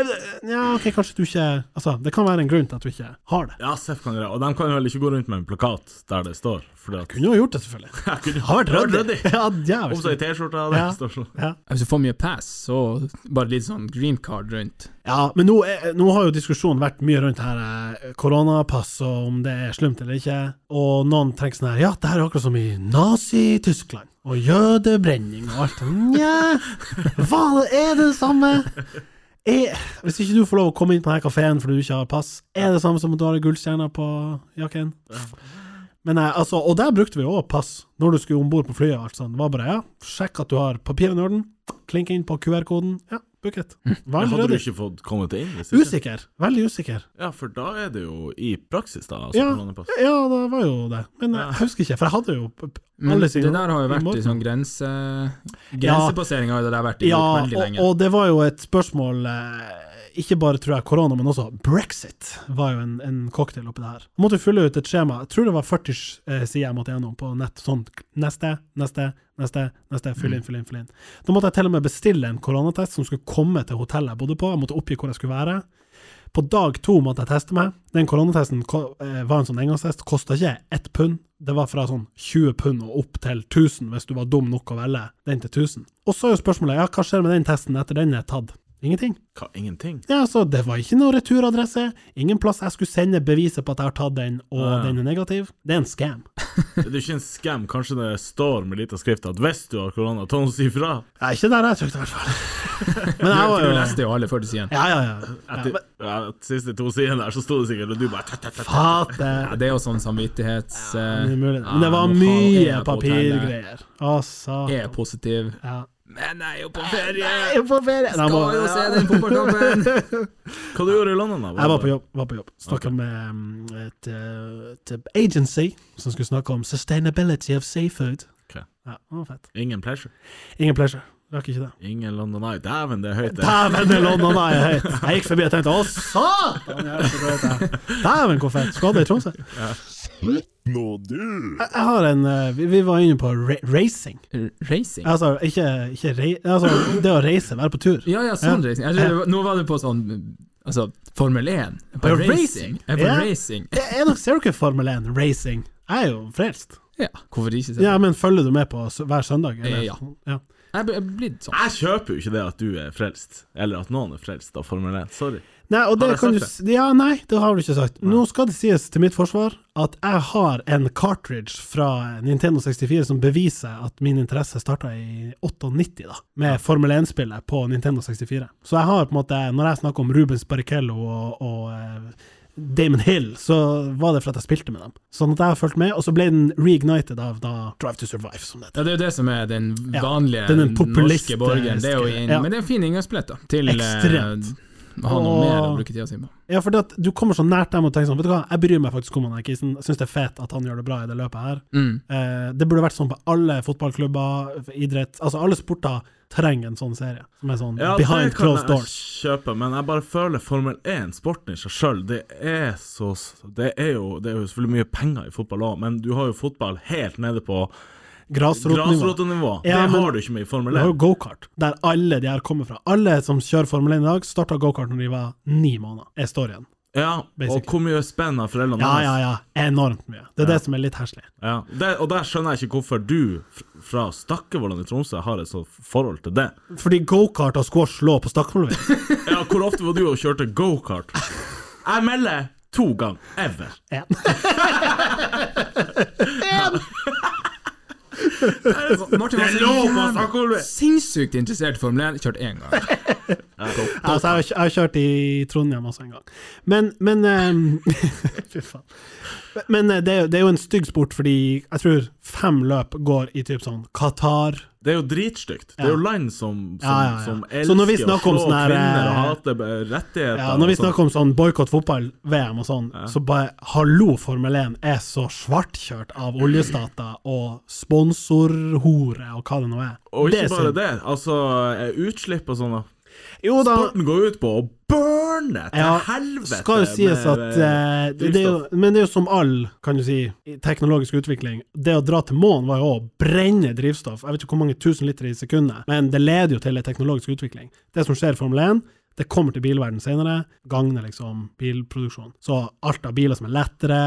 B: Ja, OK, kanskje du ikke Altså, det kan være en grunn til at du ikke har det.
A: Ja, Seff kan greie Og de kan jo heller ikke gå rundt med en plakat der det står. Fordi at
B: Kunne jo gjort det, selvfølgelig.
A: jeg kunne
B: Har vært
A: vært
B: ryddig. Ja,
A: Om så i
B: djevelsk.
A: T-skjorta det
B: Ja.
A: står sånn.
B: Ja.
C: Altså, Hvis du får mye pass, så bare litt sånn green card rundt.
B: ja, men nå, er, nå har jo diskusjonen vært mye rundt her eh, koronapass og om det er slemt eller ikke, og noen tenker sånn her Ja, det her er akkurat som i Nazi-Tyskland, og jødebrenning og alt. Nja, hva er det samme? Er, hvis ikke du får lov å komme inn på denne kafeen fordi du ikke har pass, er det samme som at du har ei gullstjerne på jakken? Men jeg, altså, og der brukte vi òg pass, når du skulle om bord på flyet. og alt sånt. Det var bare ja, sjekk at du har papirene i orden, klink inn på QR-koden. Ja, book it. Var
A: Men Hm. Hadde du
B: allerede
A: ikke fått kommet deg inn? hvis ikke?
B: usikker. Veldig usikker.
A: Ja, for da er det jo i praksis, da. Altså,
B: Ja,
A: koronapass.
B: ja, det var jo det. Men eh,
A: Ja.
B: jeg husker ikke, for jeg hadde jo p- p-
C: Men
B: alle
C: det
B: sine-
C: der har
B: i
C: jo vært i
B: måten.
C: sånn grense... Grensepassering har jo det der vært i
B: Ja,
C: veldig
B: og,
C: lenge.
B: og det var jo et spørsmål eh, Ikke bare tror jeg korona, men også brexit var jo en, en cocktail oppi det her. Jeg måtte fylle ut et skjema. Jeg tror det var 40 s- eh, sider jeg måtte gjennom på nett. Sånn neste, neste, neste, neste. Fyll
C: Mm.
B: inn, fyll inn, fyll inn. Da måtte jeg til og med bestille en koronatest som skulle komme til hotellet jeg bodde på. Jeg måtte oppgi hvor jeg skulle være. På dag to måtte jeg teste meg. Den koronatesten ko- eh, var en sånn engangstest. Kosta ikke ett pund. Det var fra sånn 20 pund og opp til 1000, hvis du var dum nok å velge den til 1000. Og så er jo spørsmålet ja, hva skjer med den testen etter den er tatt? Ingenting.
A: Hva, ingenting?
B: Ja, så Det var ikke noe returadresse, ingen plass jeg skulle sende beviset på at jeg har tatt den, og
C: Ah.
A: Ja.
B: den er negativ. Det er en scam.
A: Det er jo ikke en scam. Kanskje det står med lita skrift at 'hvis du har korona, ta oss ifra'.
B: Ja, ikke der jeg trykte, i hvert fall. Men jeg var
C: Du
B: jo
C: leste jo alle før du sier den.
B: Ja, ja, ja. ja
A: Etter
B: men-
A: ja, de siste to sidene der, så sto det sikkert, og du bare tut, tut, tut, tut.
B: Fader.
C: Ja, det er jo sånn samvittighets...
B: Det
C: eh,
B: er mulig, det.
C: ja,
B: Men det var
C: nå faen, er
B: mye
C: jeg på hotellet.
B: papirgreier. Å, satan.
C: Er jeg positiv.
B: Ja.
C: Men jeg er jo på ferie!
B: Jeg er på ferie! Nei, jeg må-
C: Skal jo se den fotballkampen!
A: Hva du gjorde du i London, da?
B: Jeg var på jobb. Var på jobb. Snakka med um, et, uh, et agency som skulle snakke om sustainability of seafood.
A: Ok.
B: Ja, det var fett.
A: Ingen pleasure.
B: Ingen pleasure. Rakk ikke det.
A: Ingen London Eye. Dæven, det er høyt, det.
B: Dæven, det London er høyt! Jeg gikk forbi og tenkte å, satan! jeg er så rød der. Dæven, hvor fett! Skade i Tromsø. Jeg, jeg har en uh, vi, vi var inne på ra racing.
C: Racing?
B: Altså, ikke, ikke rei... Altså, det å reise, være på tur.
C: Ja, ja, sånn
B: Ja.
C: racing. Jeg tror, det var- Nå var du på sånn Altså, Formel 1. Jeg er På
B: Ja,
C: racing.
B: racing.
C: Jeg er på
B: Ja.
C: racing.
B: Det er nok ser du ikke Formel 1 racing. Jeg er jo frelst.
C: Ja, hvorfor ikke? se
B: Ja,
C: det?
B: men følger du med på s- hver søndag? eller?
C: Eh, ja.
B: ja.
C: Jeg er blitt sånn.
A: Jeg kjøper jo ikke det at du er frelst, eller at noen er frelst av Formel 1. Sorry.
B: Nei, og
A: Har
B: det
A: jeg
B: kan du,
A: sagt
B: s- ja, nei, det har du ikke sagt. Nå skal det sies til mitt forsvar at jeg har en cartridge fra Nintendo 64 som beviser at min interesse starta i 98, da, med Formel 1-spillet på Nintendo 64. Så jeg har på en måte, når jeg snakker om Rubens Barrichello og, og eh, Damon Hill, så var det for at jeg spilte med dem. Sånn at jeg har fulgt med, og så ble den reignited av da Drive to Survive, som det heter.
C: Ja, Det er jo det som er den
B: Ja,
C: vanlige
B: den er den
C: norske
B: populistiske-
C: borgeren. Det er jo en,
B: ja.
C: Men det er en fin inngangsbillett da, til eh,
B: Ekstremt.
C: å ha noe
B: Og-
C: mer å bruke tida si på.
B: Ja, for at du kommer så nært dem og tenker sånn, vet du hva, jeg bryr meg faktisk om han her Kisen, jeg syns det er fett at han gjør det bra i det løpet her.
C: Mm.
B: Eh, det burde vært sånn på alle fotballklubber, idrett Altså alle sporter trenger en sånn serie, som er sånn
A: Ja,
B: behind
A: det kan
B: closed
A: jeg
B: doors.
A: kjøpe, men jeg bare føler Formel 1, sporten i seg sjøl, det er så Det er jo, det er jo selvfølgelig mye penger i fotball òg, men du har jo fotball helt nede på
B: Grasrotnivå.
A: grasrotenivå.
B: Ja,
A: det
B: men-
A: har du ikke med i
B: Du
A: Formel
B: har
A: 1.
B: jo gokart, der alle de her kommer fra. Alle som kjører Formel 1 i dag, starta gokart når de var ni måneder, er storyen.
A: Ja,
B: Basically.
A: og hvor mye spenn har foreldrene
B: Ja,
A: hans?
B: ja, ja. Enormt mye. Det er det som er litt heslig.
A: Ja, det, og der skjønner jeg ikke hvorfor du f- fra Stakkevollan i Tromsø har et sånt forhold til det.
B: Fordi gokart og squash lå på Stakkevollen.
A: Ja, Hvor ofte var du og kjørte gokart? Jeg melder to ganger. Ever.
B: En.
C: Martin var
A: Det er lov å
C: så
A: snakke om
C: jævlig
A: det.
C: sinnssykt interessert i Formel 1. Kjørt én gang.
B: Altså, jeg har, jeg har kjørt i Trondheim også en gang. Men, men ehm, Fy faen. Men eh, det er, jo- det er jo en stygg sport, fordi jeg tror fem løp går i typ sånn Qatar
A: Det er jo dritstygt. Det er jo land som, som,
B: Ja, ja, ja.
A: som
B: Så når vi
A: elsker å
B: snakker om
A: slå
B: sånn her,
A: kvinner og
B: eh,
A: hate eh, rettigheter.
B: ja, Når vi
A: og sånt.
B: snakker om sånn boikott fotball-VM og sånn, så bare hallo, Formel 1 er så svartkjørt av oljestater og sponsorhore og hva det nå er.
A: Og ikke
B: er
A: bare
B: synd.
A: det. Altså, eh, utslipp og sånn. da.
B: Jo da,
A: Sporten går ut på å burne til
B: Ja,
A: helvete!
B: skal jo sies
A: med-
B: at eh, det, det er jo, Men det er jo som all kan du si, teknologisk utvikling. Det å dra til månen var jo å brenne drivstoff. Jeg vet ikke hvor mange tusen liter i sekundet, men det leder jo til en teknologisk utvikling. Det som skjer i Formel 1, det kommer til bilverden senere, gagner liksom bilproduksjon. Så alt av biler som er lettere,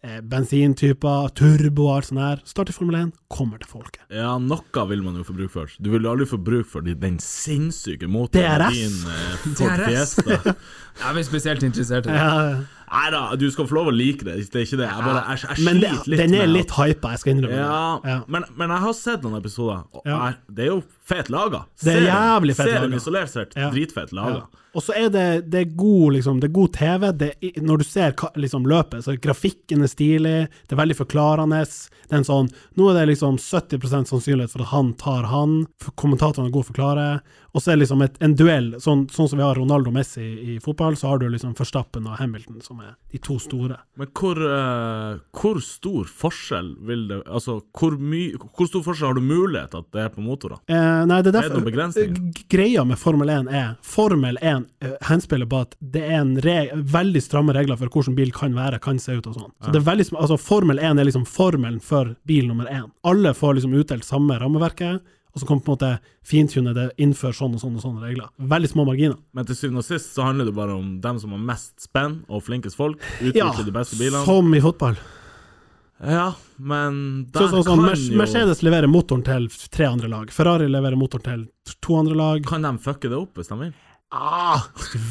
B: eh, bensintyper, turbo og alt sånt der, start i Formel 1, kommer til folket.
A: Ja, noe vil man jo få bruk for. Du vil jo aldri få bruk for de- den sinnssyke motoren
B: DRS.
A: din eh, Ford
C: DRS.
A: Fiesta.
C: Jeg blir spesielt interessert i det.
B: Ja,
A: Nei da, du skal få lov å like det, det er ikke det. Jeg bare, jeg, jeg
B: Men det,
A: sliter litt
B: den er
A: med
B: litt hypa, jeg skal innrømme
A: Ja,
B: det. Ja.
A: Men, men jeg har sett noen episoder, og
B: Ja.
A: jeg, det er jo fet laga.
B: Det er jævlig fet
A: Serien
B: laga.
A: isolert sett,
B: Ja.
A: dritfet laga.
B: Ja. Og så er det, det er god, liksom, det er god TV. Det, er- når du ser ka- liksom, løpet, så grafikken er stilig, det er veldig forklarende. Det er en sånn, nå er det liksom 70 sannsynlighet for at han tar han, for kommentatorene er gode å forklare. Og så er det liksom et, en duell, sånn, sånn som vi har Ronaldo og Messi i fotball, så har du liksom Verstappen og Hamilton, som er de to store.
A: Men hvor, eh, hvor stor forskjell vil det Altså, hvor, my, hvor stor forskjell har du mulighet at det er på motorer?
B: Eh, nei, det er
A: Er det noen
B: derfor Eh,
A: begrensninger?
B: g- Greia med Formel 1 er Formel 1 eh, henspiller på at det er en re veldig stramme regler for hvordan bil kan være, kan se ut og sånn. Så det er veldig, sm- altså Formel 1 er liksom formelen for bil nummer 1. Alle får liksom utdelt samme rammeverket, og så kan på en måte fintune det innenfor sånn og sånn og sånne regler. Veldig små marginer.
A: Men til syvende og sist så handler det bare om dem som har mest spenn og flinkest folk. Utvikler de beste bilene.
B: som i fotball.
A: Ja, men der
B: Så, så, sånn,
A: kan
B: Mer-
A: jo
B: Mercedes leverer motoren til tre andre lag. Ferrari leverer motoren til t- to andre lag.
A: Kan de fucke det opp hvis de vil?
B: Ah,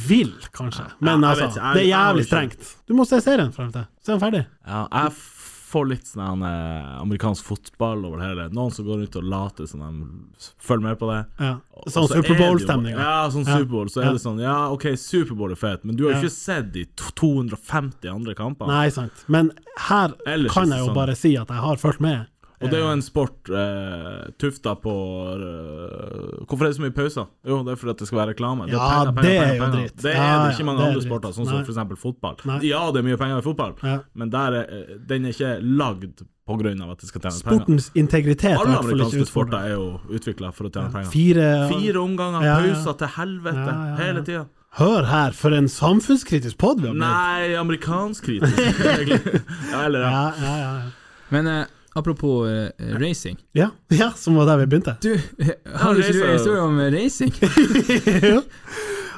B: vil, kanskje. Men
A: Ja,
B: altså,
A: jeg vet ikke. Jeg-
B: det er
A: jeg har
B: jævlig
A: ikke-
B: strengt. Du må se serien frem til. Se den ferdig.
A: Ja, jeg får litt sånn eh, amerikansk fotball over det hele. Noen som går rundt og later som de følger med på det.
B: Ja.
A: Og
B: Sånn
A: så er det jo-
B: Superbowl-stemning.
A: Ja, sånn
B: Ja.
A: Superbowl. Så er
B: Ja.
A: det sånn Ja, OK, Superbowl er fett, men du har jo
B: Ja.
A: ikke sett de to- 250 andre kampene.
B: Nei, sant. Men her
A: Ellers
B: kan
A: er
B: jeg
A: det
B: jo
A: sånn.
B: bare si at jeg har fulgt med.
A: Og det er jo en sport eh, tufta på eh, Hvorfor er det så mye pauser? Jo, det er fordi at det skal være reklame. Det er
B: Ja,
A: penger,
B: det
A: penger,
B: er
A: penger,
B: jo
A: penger.
B: dritt.
A: Det er
B: Ja,
A: det
B: ja,
A: ikke i mange
B: det er
A: andre
B: dritt.
A: sporter, sånn
B: Nei.
A: som f.eks. fotball.
B: Nei.
A: Ja, det er mye penger i fotball,
B: Ja.
A: men der er, eh, den er ikke lagd på grunn av at det skal tjene penger.
B: Eh, Sportens integritet
A: Alle
B: har vært for litt
A: amerikanske sporter
B: utfordrende.
A: er jo utvikla for å tjene penger.
B: Fire
A: Fire omganger
B: Ja, ja.
A: pauser til helvete
B: Ja, ja, ja.
A: hele tida.
B: Hør her, for en samfunnskritisk pod vi har blitt!
A: Nei, amerikansk kritisk, egentlig. Ja, eller ja.
B: Ja, ja, ja.
C: Men eh, apropos eh, racing.
B: Ja, ja, som var der vi begynte.
C: Du, har du ikke du
A: racer.
C: en historie om eh, racing?
B: Ja.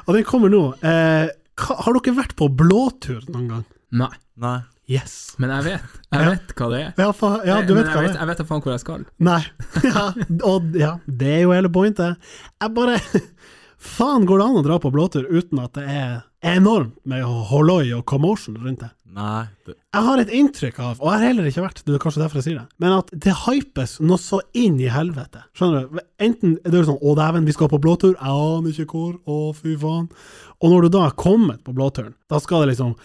B: Og den kommer nå. Eh, hva, har dere vært på blåtur noen gang?
C: Nei,
A: Nei.
B: Yes.
C: men jeg vet. Jeg
B: Ja.
C: vet hva det er.
B: Ja, fa, ja du
C: Men
B: vet
C: jeg
B: hva det
C: vet,
B: er.
C: Jeg vet da faen hvor jeg skal.
B: Nei. Ja, og, ja, det er jo hele pointet. Jeg bare Faen, går det an å dra på blåtur uten at det er enormt med holoi og commotion rundt det?
A: Nei. Det,
B: Jeg har et inntrykk av, og jeg har heller ikke vært, det er kanskje derfor jeg sier det, men at det hypes noe så inn i helvete. Skjønner du? Enten er det sånn 'Å, dæven, vi skal på blåtur', 'Jeg aner ikke hvor', 'Å, fy faen'. Og når du da er kommet på blåturen, da skal det liksom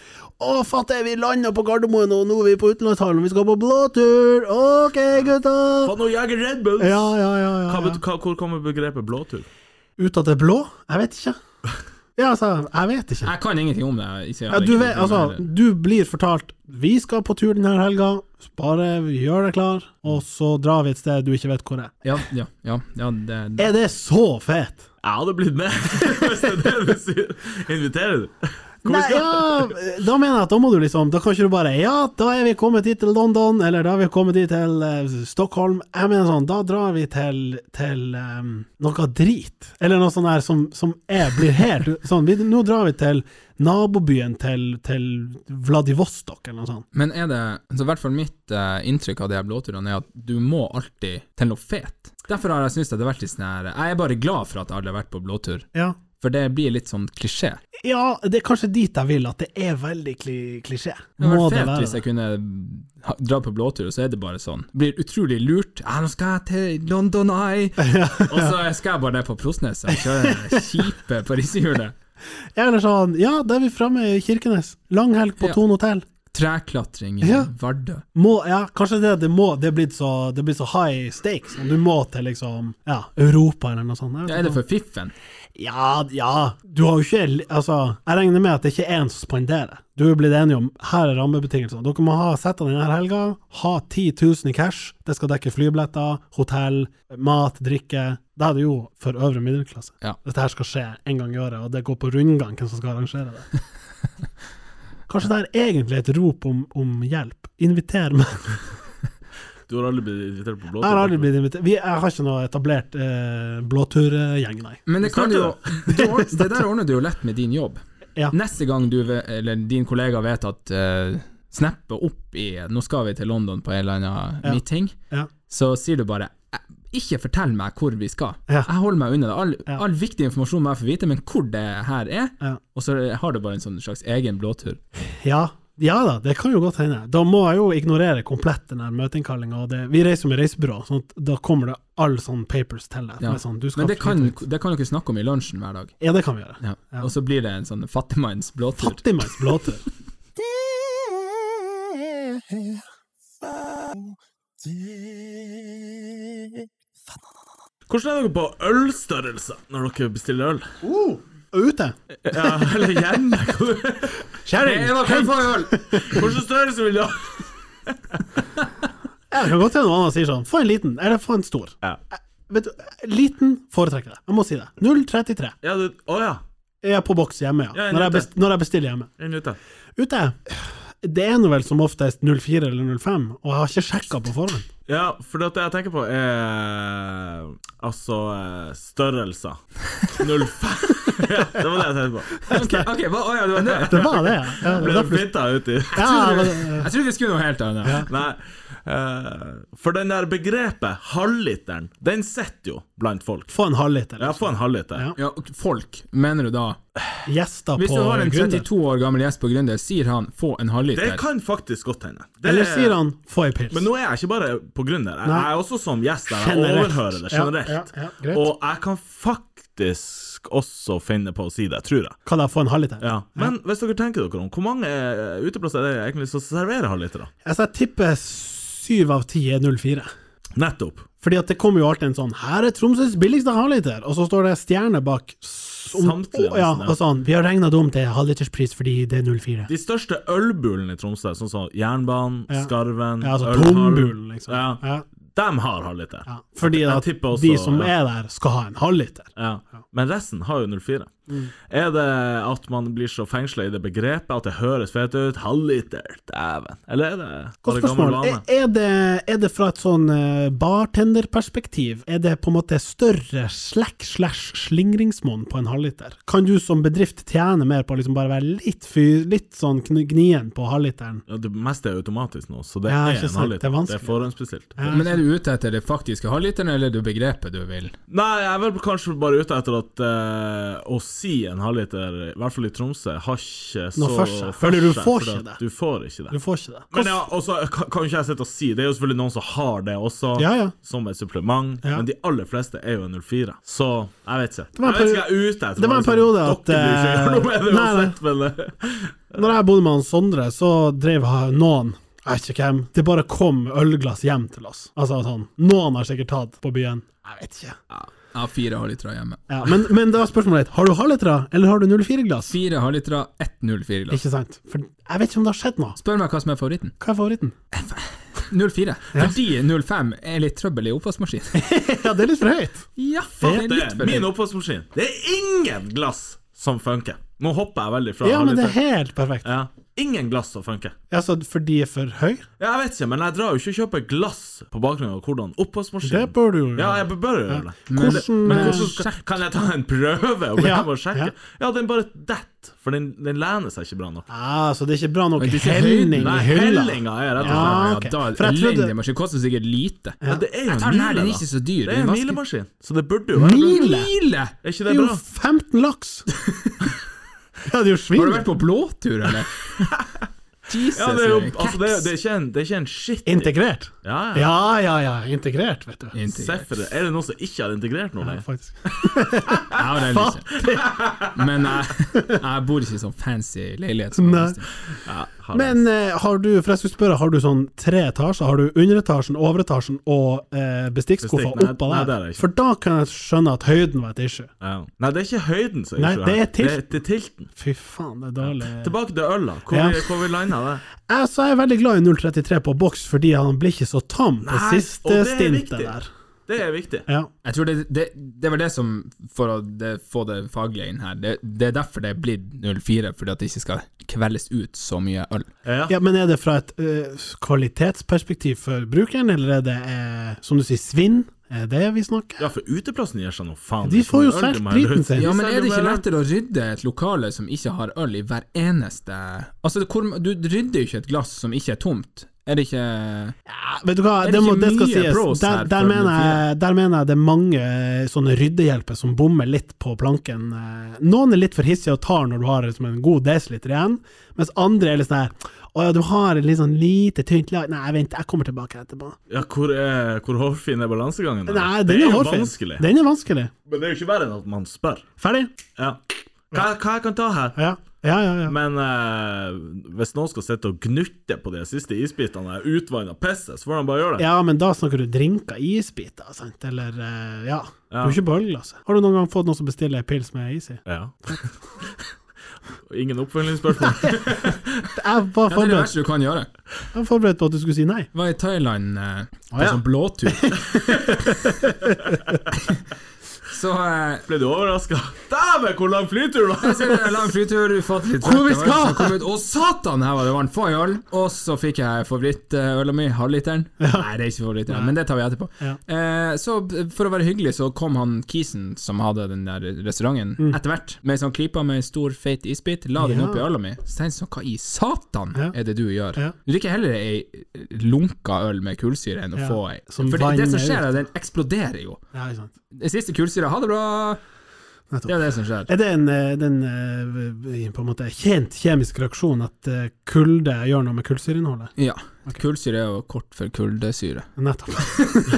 B: 'Å, fatter, vi landa på Gardermoen, og nå er vi på utenlandshallen, vi skal på blåtur', 'Ok, gutta'.
A: Faen, nå jager Red Bulls!
B: Ja, ja, ja. ja, ja.
A: Hva, bet- hva, hvor kommer begrepet blåtur?
B: Ut at det er blå? Jeg vet ikke. Ja, altså, jeg vet ikke.
C: Jeg kan ingenting om det. jeg- jeg
B: Ja,
C: hadde
B: du,
C: ikke
B: vet,
C: noe
B: altså,
C: med det.
B: du blir fortalt vi skal på tur denne helga, bare gjør deg klar, og så drar vi et sted du ikke vet hvor er.
C: Ja, ja, ja, ja det, det.
B: Er det så fet?
A: Jeg hadde blitt med, hvis det er det du sier. Inviterer du? Hvor
B: Nei,
A: vi skal?
B: ja, da mener jeg at da må du liksom Da kan ikke du bare Ja, da er vi kommet hit til London, eller da er vi kommet hit til eh, Stockholm. Jeg mener sånn, da drar vi til, til em, noe drit. Eller noe sånt der som, som er, blir helt sånn. Vi, nå drar vi til nabobyen til, til Vladivostok, eller noe sånt.
C: Men er det så I hvert fall mitt eh, inntrykk av de her blåturene er at du må alltid til noe fet. Derfor har jeg syntes at det har vært litt sånn her Jeg er bare glad for at jeg aldri har vært på blåtur,
B: Ja.
C: for det blir litt sånn klisjé.
B: Ja, det er kanskje dit jeg vil, at det er veldig kli klisjé.
C: Det hadde
B: Må
C: vært
B: det
C: fett
B: være
C: hvis jeg kunne ha- dra på blåtur, og så er det bare sånn. Blir utrolig lurt. Ja, nå skal jeg til London Eye! og så skal jeg bare ned på Prosneset og kjøre det kjipe pariserhjulet.
B: det? Eller sånn, ja, da er vi framme i Kirkenes. Langhelg på
C: Ja.
B: Thon hotell.
C: Treklatring i
B: Ja.
C: Vardø.
B: Må, ja, kanskje det, det må Det er blitt så, det er blitt så high stakes. Om du må til liksom ja, Europa eller noe sånt. Jeg vet
C: Ja, er det
B: ikke.
C: for fiffen?
B: ja, ja. Du har jo ikke li- Altså, jeg regner med at det ikke er én som spanderer. Du er blitt enige om her er rammebetingelsene. Dere må ha settene denne helga. Ha 10 000 i cash. Det skal dekke flybilletter, hotell, mat, drikke. Det er det jo for øvre middelklasse.
C: Ja.
B: Dette her skal skje en gang i året, og det går på rundgang hvem som skal arrangere det. Kanskje det er egentlig et rop om, om hjelp. Inviter meg.
A: Du har aldri blitt invitert på blåtur?
B: Jeg har aldri blitt invitert. Vi, jeg har ikke noe etablert eh, blåturgjeng, nei.
C: Men det kan
A: Starter
C: jo du ord- Det der ordner du jo lett med din jobb.
B: Ja.
C: Neste gang du, ve- eller din kollega vet at uh, Snappe opp i Nå skal vi til London på en eller annen
B: Ja.
C: meeting,
B: Ja.
C: så sier du bare "Jeg- ikke fortell meg hvor vi skal.
B: Ja.
C: Jeg holder meg unna det. All,
B: Ja.
C: all viktig informasjon må jeg få vite, men hvor det her er.
B: Ja.
C: Og så har det bare en sånn slags egen blåtur.
B: Ja, ja da, det kan jo godt hende. Da må jeg jo ignorere komplett den der møteinnkallinga. Vi reiser med reisebyrå, sånn at da kommer det alle sånne papers til deg.
C: Ja.
B: med Sånn, du skal
C: Men det kan,
B: flytte ut.
C: det kan dere snakke om i lunsjen hver dag.
B: Ja, det kan vi gjøre.
C: Ja.
B: Ja.
C: Og så blir det en sånn fattigmanns blåtur.
B: Fattigmanns blåtur.
A: Hvordan er dere på ølstørrelse når dere bestiller øl?
B: Uh, ute!
A: Ja, eller hjemme? Hva-
B: Kjerring! hent!
A: Hvordan størrelse vil du ha?
B: Ja, Det kan godt hende noen andre sier sånn, få en liten, eller få en stor.
A: Ja.
B: Eh, Vet du, liten foretrekker jeg. Jeg må si det. 0,33
A: Ja, du, å ja.
B: er jeg på boks hjemme, ja.
A: Ja, en
B: Når jeg,
A: ute.
B: best, når jeg bestiller hjemme.
A: Den ute.
B: Ute Det er nå vel som oftest 04 eller 05, og jeg har ikke sjekka på forhånd.
A: Ja, for det jeg tenker på er Altså eh, størrelser. 05 ja, Det var det jeg tenkte på.
C: Ok, ok, hva, å ja, det var det.
B: Det var det, ja. ja. det
A: Ble
B: var
A: du
B: derfor-
A: flytta uti?
B: Ja, men, eh,
C: Jeg trodde vi skulle noe helt annet.
A: Nei. eh, for den der begrepet halvliteren, den sitter jo blant folk.
B: få en halvliter.
A: Ja, få en halvliter.
B: Ja.
C: Ja, og folk, mener du da?
B: Gjester
C: Hvis
B: på
C: du har en
B: Gründer.
C: 32 år gammel gjest på Gründer, sier han 'få en
A: Det
C: halvliter'?
A: kan faktisk godt hende. Det-
B: Eller sier han 'få ei pils'?
A: Men nå er jeg ikke bare på grunn der. Jeg,
B: Nei.
A: jeg er også som gjest der. Jeg
B: Generelt.
A: overhører det
B: Ja,
A: generelt.
B: ja, ja, greit.
A: og jeg kan faktisk også finne på å si det, tror jeg.
B: Kan jeg få en halvliter?
A: Ja. Men hvis dere tenker dere om, hvor mange eh, uteplasser er det egentlig som serverer halvliter? da?
B: Altså, jeg tipper syv av ti er 04.
A: Nettopp.
B: Fordi at det kommer jo alltid en sånn 'Her er Tromsøs billigste halvliter', og så står det stjerne bak s- om-
A: Samtlige,
B: Å, ja,
A: nesten, ja.
B: og sånn 'Vi har regna det om til halvliterspris fordi det er 04'.
A: De største ølbulene i Tromsø, sånn som Jernbanen,
B: Ja.
A: Skarven
B: Ja, altså
A: Ølhallen,
B: tombulen, liksom.
A: Ja.
B: Ja,
A: De har halvliter.
B: ja. Fordi
A: Jeg
B: at
A: tipper også-
B: de som
A: ja.
B: er der, skal ha en halvliter.
A: Ja. Men resten har jo 04.
B: Mm.
A: Er det at man blir så fengsla i det begrepet at det høres fett ut? Halvliter, dæven. Eller er det
B: Godt
A: bare gammel
B: spørsmål.
A: vane?
B: Er, er, det, er det fra et sånn eh, bartenderperspektiv, er det på en måte større slack slash slingringsmonn på en halvliter? Kan du som bedrift tjene mer på å liksom bare være litt, fy, litt sånn kn- gnien på halvliteren?
A: Ja, det meste er automatisk nå, så det
B: Ja,
A: er
B: ikke
A: en
B: sant. Det
A: halvliter.
B: er
A: Det
B: vanskelig.
A: er forhåndsbestilt.
B: Eh,
C: Men er du ute etter det faktiske halvliteren, eller det begrepet du vil?
A: Nei, jeg er vel kanskje bare ute etter at eh, å si en halvliter, i hvert fall i Tromsø, har ikke så
B: for seg. Eller du får
A: fordi
B: ikke
A: at
B: det.
A: Du får ikke
B: Du
A: det.
B: får ikke det.
A: Men ja, også, kan kan jo ikke jeg sitte og si, det er jo selvfølgelig noen som har det også,
B: Ja, ja.
A: som et supplement,
B: Ja.
A: men de aller fleste er jo en 04. Så jeg vet ikke.
B: var en
A: Jeg vet
B: peri-
A: ikke hva jeg er ute etter.
B: det var en
A: men liksom,
B: periode at,
A: Dere blir ikke gjøre noe med det
B: eh, nei, nei.
A: uansett, men eh,
B: Når jeg bodde med han Sondre, så drev ha- noen jeg vet ikke hvem. Det bare kom ølglass hjem til oss. Altså sånn. Noen har sikkert tatt på byen. Jeg vet ikke.
C: Jeg har fire halvlitere hjemme.
B: Ja, men, men da er spørsmålet ditt. Har du halvlitere, eller har du 04-glass?
C: Fire halvlitere, 104 glass.
B: Ikke sant? For jeg vet ikke om det har skjedd noe.
C: Spør meg hva som er favoritten.
B: Hva er favoritten?
C: 04. Fordi 05 er litt trøbbel i oppvaskmaskinen.
B: Ja, det er litt for høyt.
C: Ja, faen, det er litt
A: det,
C: for
A: min
C: høyt.
A: oppvaskmaskin. Det er ingen glass som funker. Nå hopper jeg veldig fra.
B: Ja, men det er
A: halvliter.
B: helt perfekt.
A: ja. Ingen glass som funker.
B: Altså, for de er for høy?
A: Ja, Jeg vet ikke, men jeg drar jo ikke og kjøper glass på bakgrunn av hvordan oppvaskmaskin
B: Det bør du jo
A: Ja,
B: gjøre.
A: jeg bør jo gjøre det.
C: Men-
B: Hvordan-
A: Men hvordan skal, kan jeg ta en prøve og gå
B: Ja,
A: hjem og sjekke? Ja, den bare detter, for den, den lener seg ikke bra nok.
B: Ah, så det er ikke bra nok
C: Men det er ikke
B: helning
C: høyden,
B: i
A: Nei,
B: hylla?
A: hellinga er rett og slett
B: Ja,
C: Ja,
B: ok.
C: da,
B: For jeg trodde-
C: Elendig maskin. Koster sikkert lite.
A: ja, Det er jo
C: Jeg tar
A: en
C: den
A: mile,
C: her, den er
A: da.
C: ikke så dyr.
A: Det er en
C: vasker-
A: milemaskin, så det burde jo være
B: Mil-
A: bra.
C: Mile!
A: Er ikke
B: Det
A: det
B: er jo
A: bra?
B: 15 laks! Ja, det er jo
C: Har du
B: svin.
C: vært på blåtur, eller? Jesus,
A: Ja, det er jo
C: cats.
A: altså, det er, det er ikke en, det er ikke en shit. i-
B: Integrert.
A: Ja, ja.
B: Ja, ja, ja. Integrert, vet du.
C: Integrert.
A: Seffer, er det noen som ikke har integrert noe?
B: Ja,
A: lenger?
B: faktisk.
C: Jeg har den ikke. Men jeg, jeg bor ikke i sånn fancy leilighet. Som
B: Nei.
C: jeg visste.
A: Ja, har det.
B: Men eh, har du for jeg skulle spørre, har du sånn tre etasjer? Har du underetasjen, overetasjen og eh, bestikkskuffa
A: Bestikk, nei,
B: oppå
A: nei, det er
B: der?
A: det ikke.
B: For da kan jeg skjønne at høyden var et issue.
A: ja. Nei, det er ikke høyden som er
B: Nei,
A: ikke
B: det er
A: her.
B: tilten.
A: Det er tilten.
B: Fy faen, det er dårlig.
A: Tilbake til øla. Hvor,
B: Ja.
A: vi- hvor vi landa det?
B: Jeg, så jeg er veldig glad i 033 på boks, fordi han blir ikke så tam på
A: Nei, og
B: siste
A: det er
B: stintet
A: viktig.
B: der.
A: Det er viktig.
B: Ja.
C: Jeg tror det, det, det var det som For å det, få det faglige inn her. Det, det er derfor det er blitt 04, fordi at det ikke skal kveldes ut så mye øl.
A: Ja.
B: ja, Men er det fra et ø, kvalitetsperspektiv for brukeren, eller er det, eh, som du sier, svinn? Er det vi snakker?
A: Ja, for uteplassen gir seg noe faen.
B: De får jo
A: Øl,
B: solgt
A: de må ha
B: driten
A: løs.
B: sin.
C: Ja, men
A: selger
C: er det ikke
A: bare øl.
C: lettere å rydde et lokale som ikke har øl i hver eneste Altså, hvor, du rydder jo ikke et glass som ikke er tomt, Er det ikke
B: Ja, Ah, vet du hva,
C: Er
B: det,
C: det
B: må,
C: ikke
B: det skal
C: mye
B: sies.
C: pros
B: Der,
C: her
B: der,
C: for
B: mener jeg, der mener jeg det er mange eh, sånne ryddehjelper som bommer litt på planken. Eh, Noen er litt for hissige og tar når du har liksom en god desiliter igjen, mens andre er litt sånn her Å ja, du har et litt sånn lite, tynt lag Nei, vent, jeg kommer tilbake etterpå.
A: Ja, hvor, er, hvor hårfin er balansegangen? der?
B: Nei,
A: det
B: den
A: er
B: er
A: jo
B: hårfin.
A: vanskelig.
B: Den er vanskelig.
A: Men det er jo ikke verre enn at man spør.
B: Ferdig?
A: Ja. Hva, hva jeg kan ta her?
B: Ja. Ja, ja, ja.
A: Men eh, hvis noen skal sitte og gnutte på de siste isbitene og utvanne pisset, så får de bare gjøre det.
B: Ja, men da snakker du drinker, isbiter, sant, eller eh, ja. Du
A: Ja.
B: er ikke på ølglasset. Har du noen gang fått noen som bestiller ei pils med is i?
A: Ja. Ingen oppfølgingsspørsmål.
B: Jeg var
C: Ja, Altså, det er det
B: forberedt,
C: verste du kan gjøre.
B: jeg var forberedt på at du skulle si nei.
C: Var i Thailand eh, på
B: ja.
C: sånn blåtur. så eh,
A: Ble du overraska? Dæven, hvor lang flytur det var!
C: så er det Altså, en lang flytur, ufattelig trøtt.
B: Hvor vi
C: jeg var,
B: skal?
C: så kom jeg ut, Å, satan, her var det varmt! Få en øl. Og så fikk jeg favorittøla mi, halvliteren. Nei, det er ikke favorittølen, men det tar vi etterpå.
B: Ja.
C: Eh, så b- for å være hyggelig, så kom han Kisen, som hadde den der restauranten, etter hvert. Med sånn klypa med en stor, feit isbit. La den
B: Mm. Ja.
C: oppi øla mi. Så tenkte jeg sånn, hva i satan
B: Ja.
C: er det du gjør?
B: Ja.
C: Du drikker heller ei lunka øl med kullsyre enn å
B: Ja,
C: få ei.
B: som
C: For det, det som
B: vanner
C: skjer,
B: ut.
C: er at den eksploderer jo.
B: Ja, ikke sant.
C: Det siste kullsyra, ha det bra!
B: Nettopp.
C: Det er det som skjer.
B: Er det en, eh, den, eh, på en måte kjent kjemisk reaksjon at eh, kulde gjør noe med kullsyreinnholdet?
C: Ja. Kullsyre er jo kort for kuldesyre.
B: Nettopp.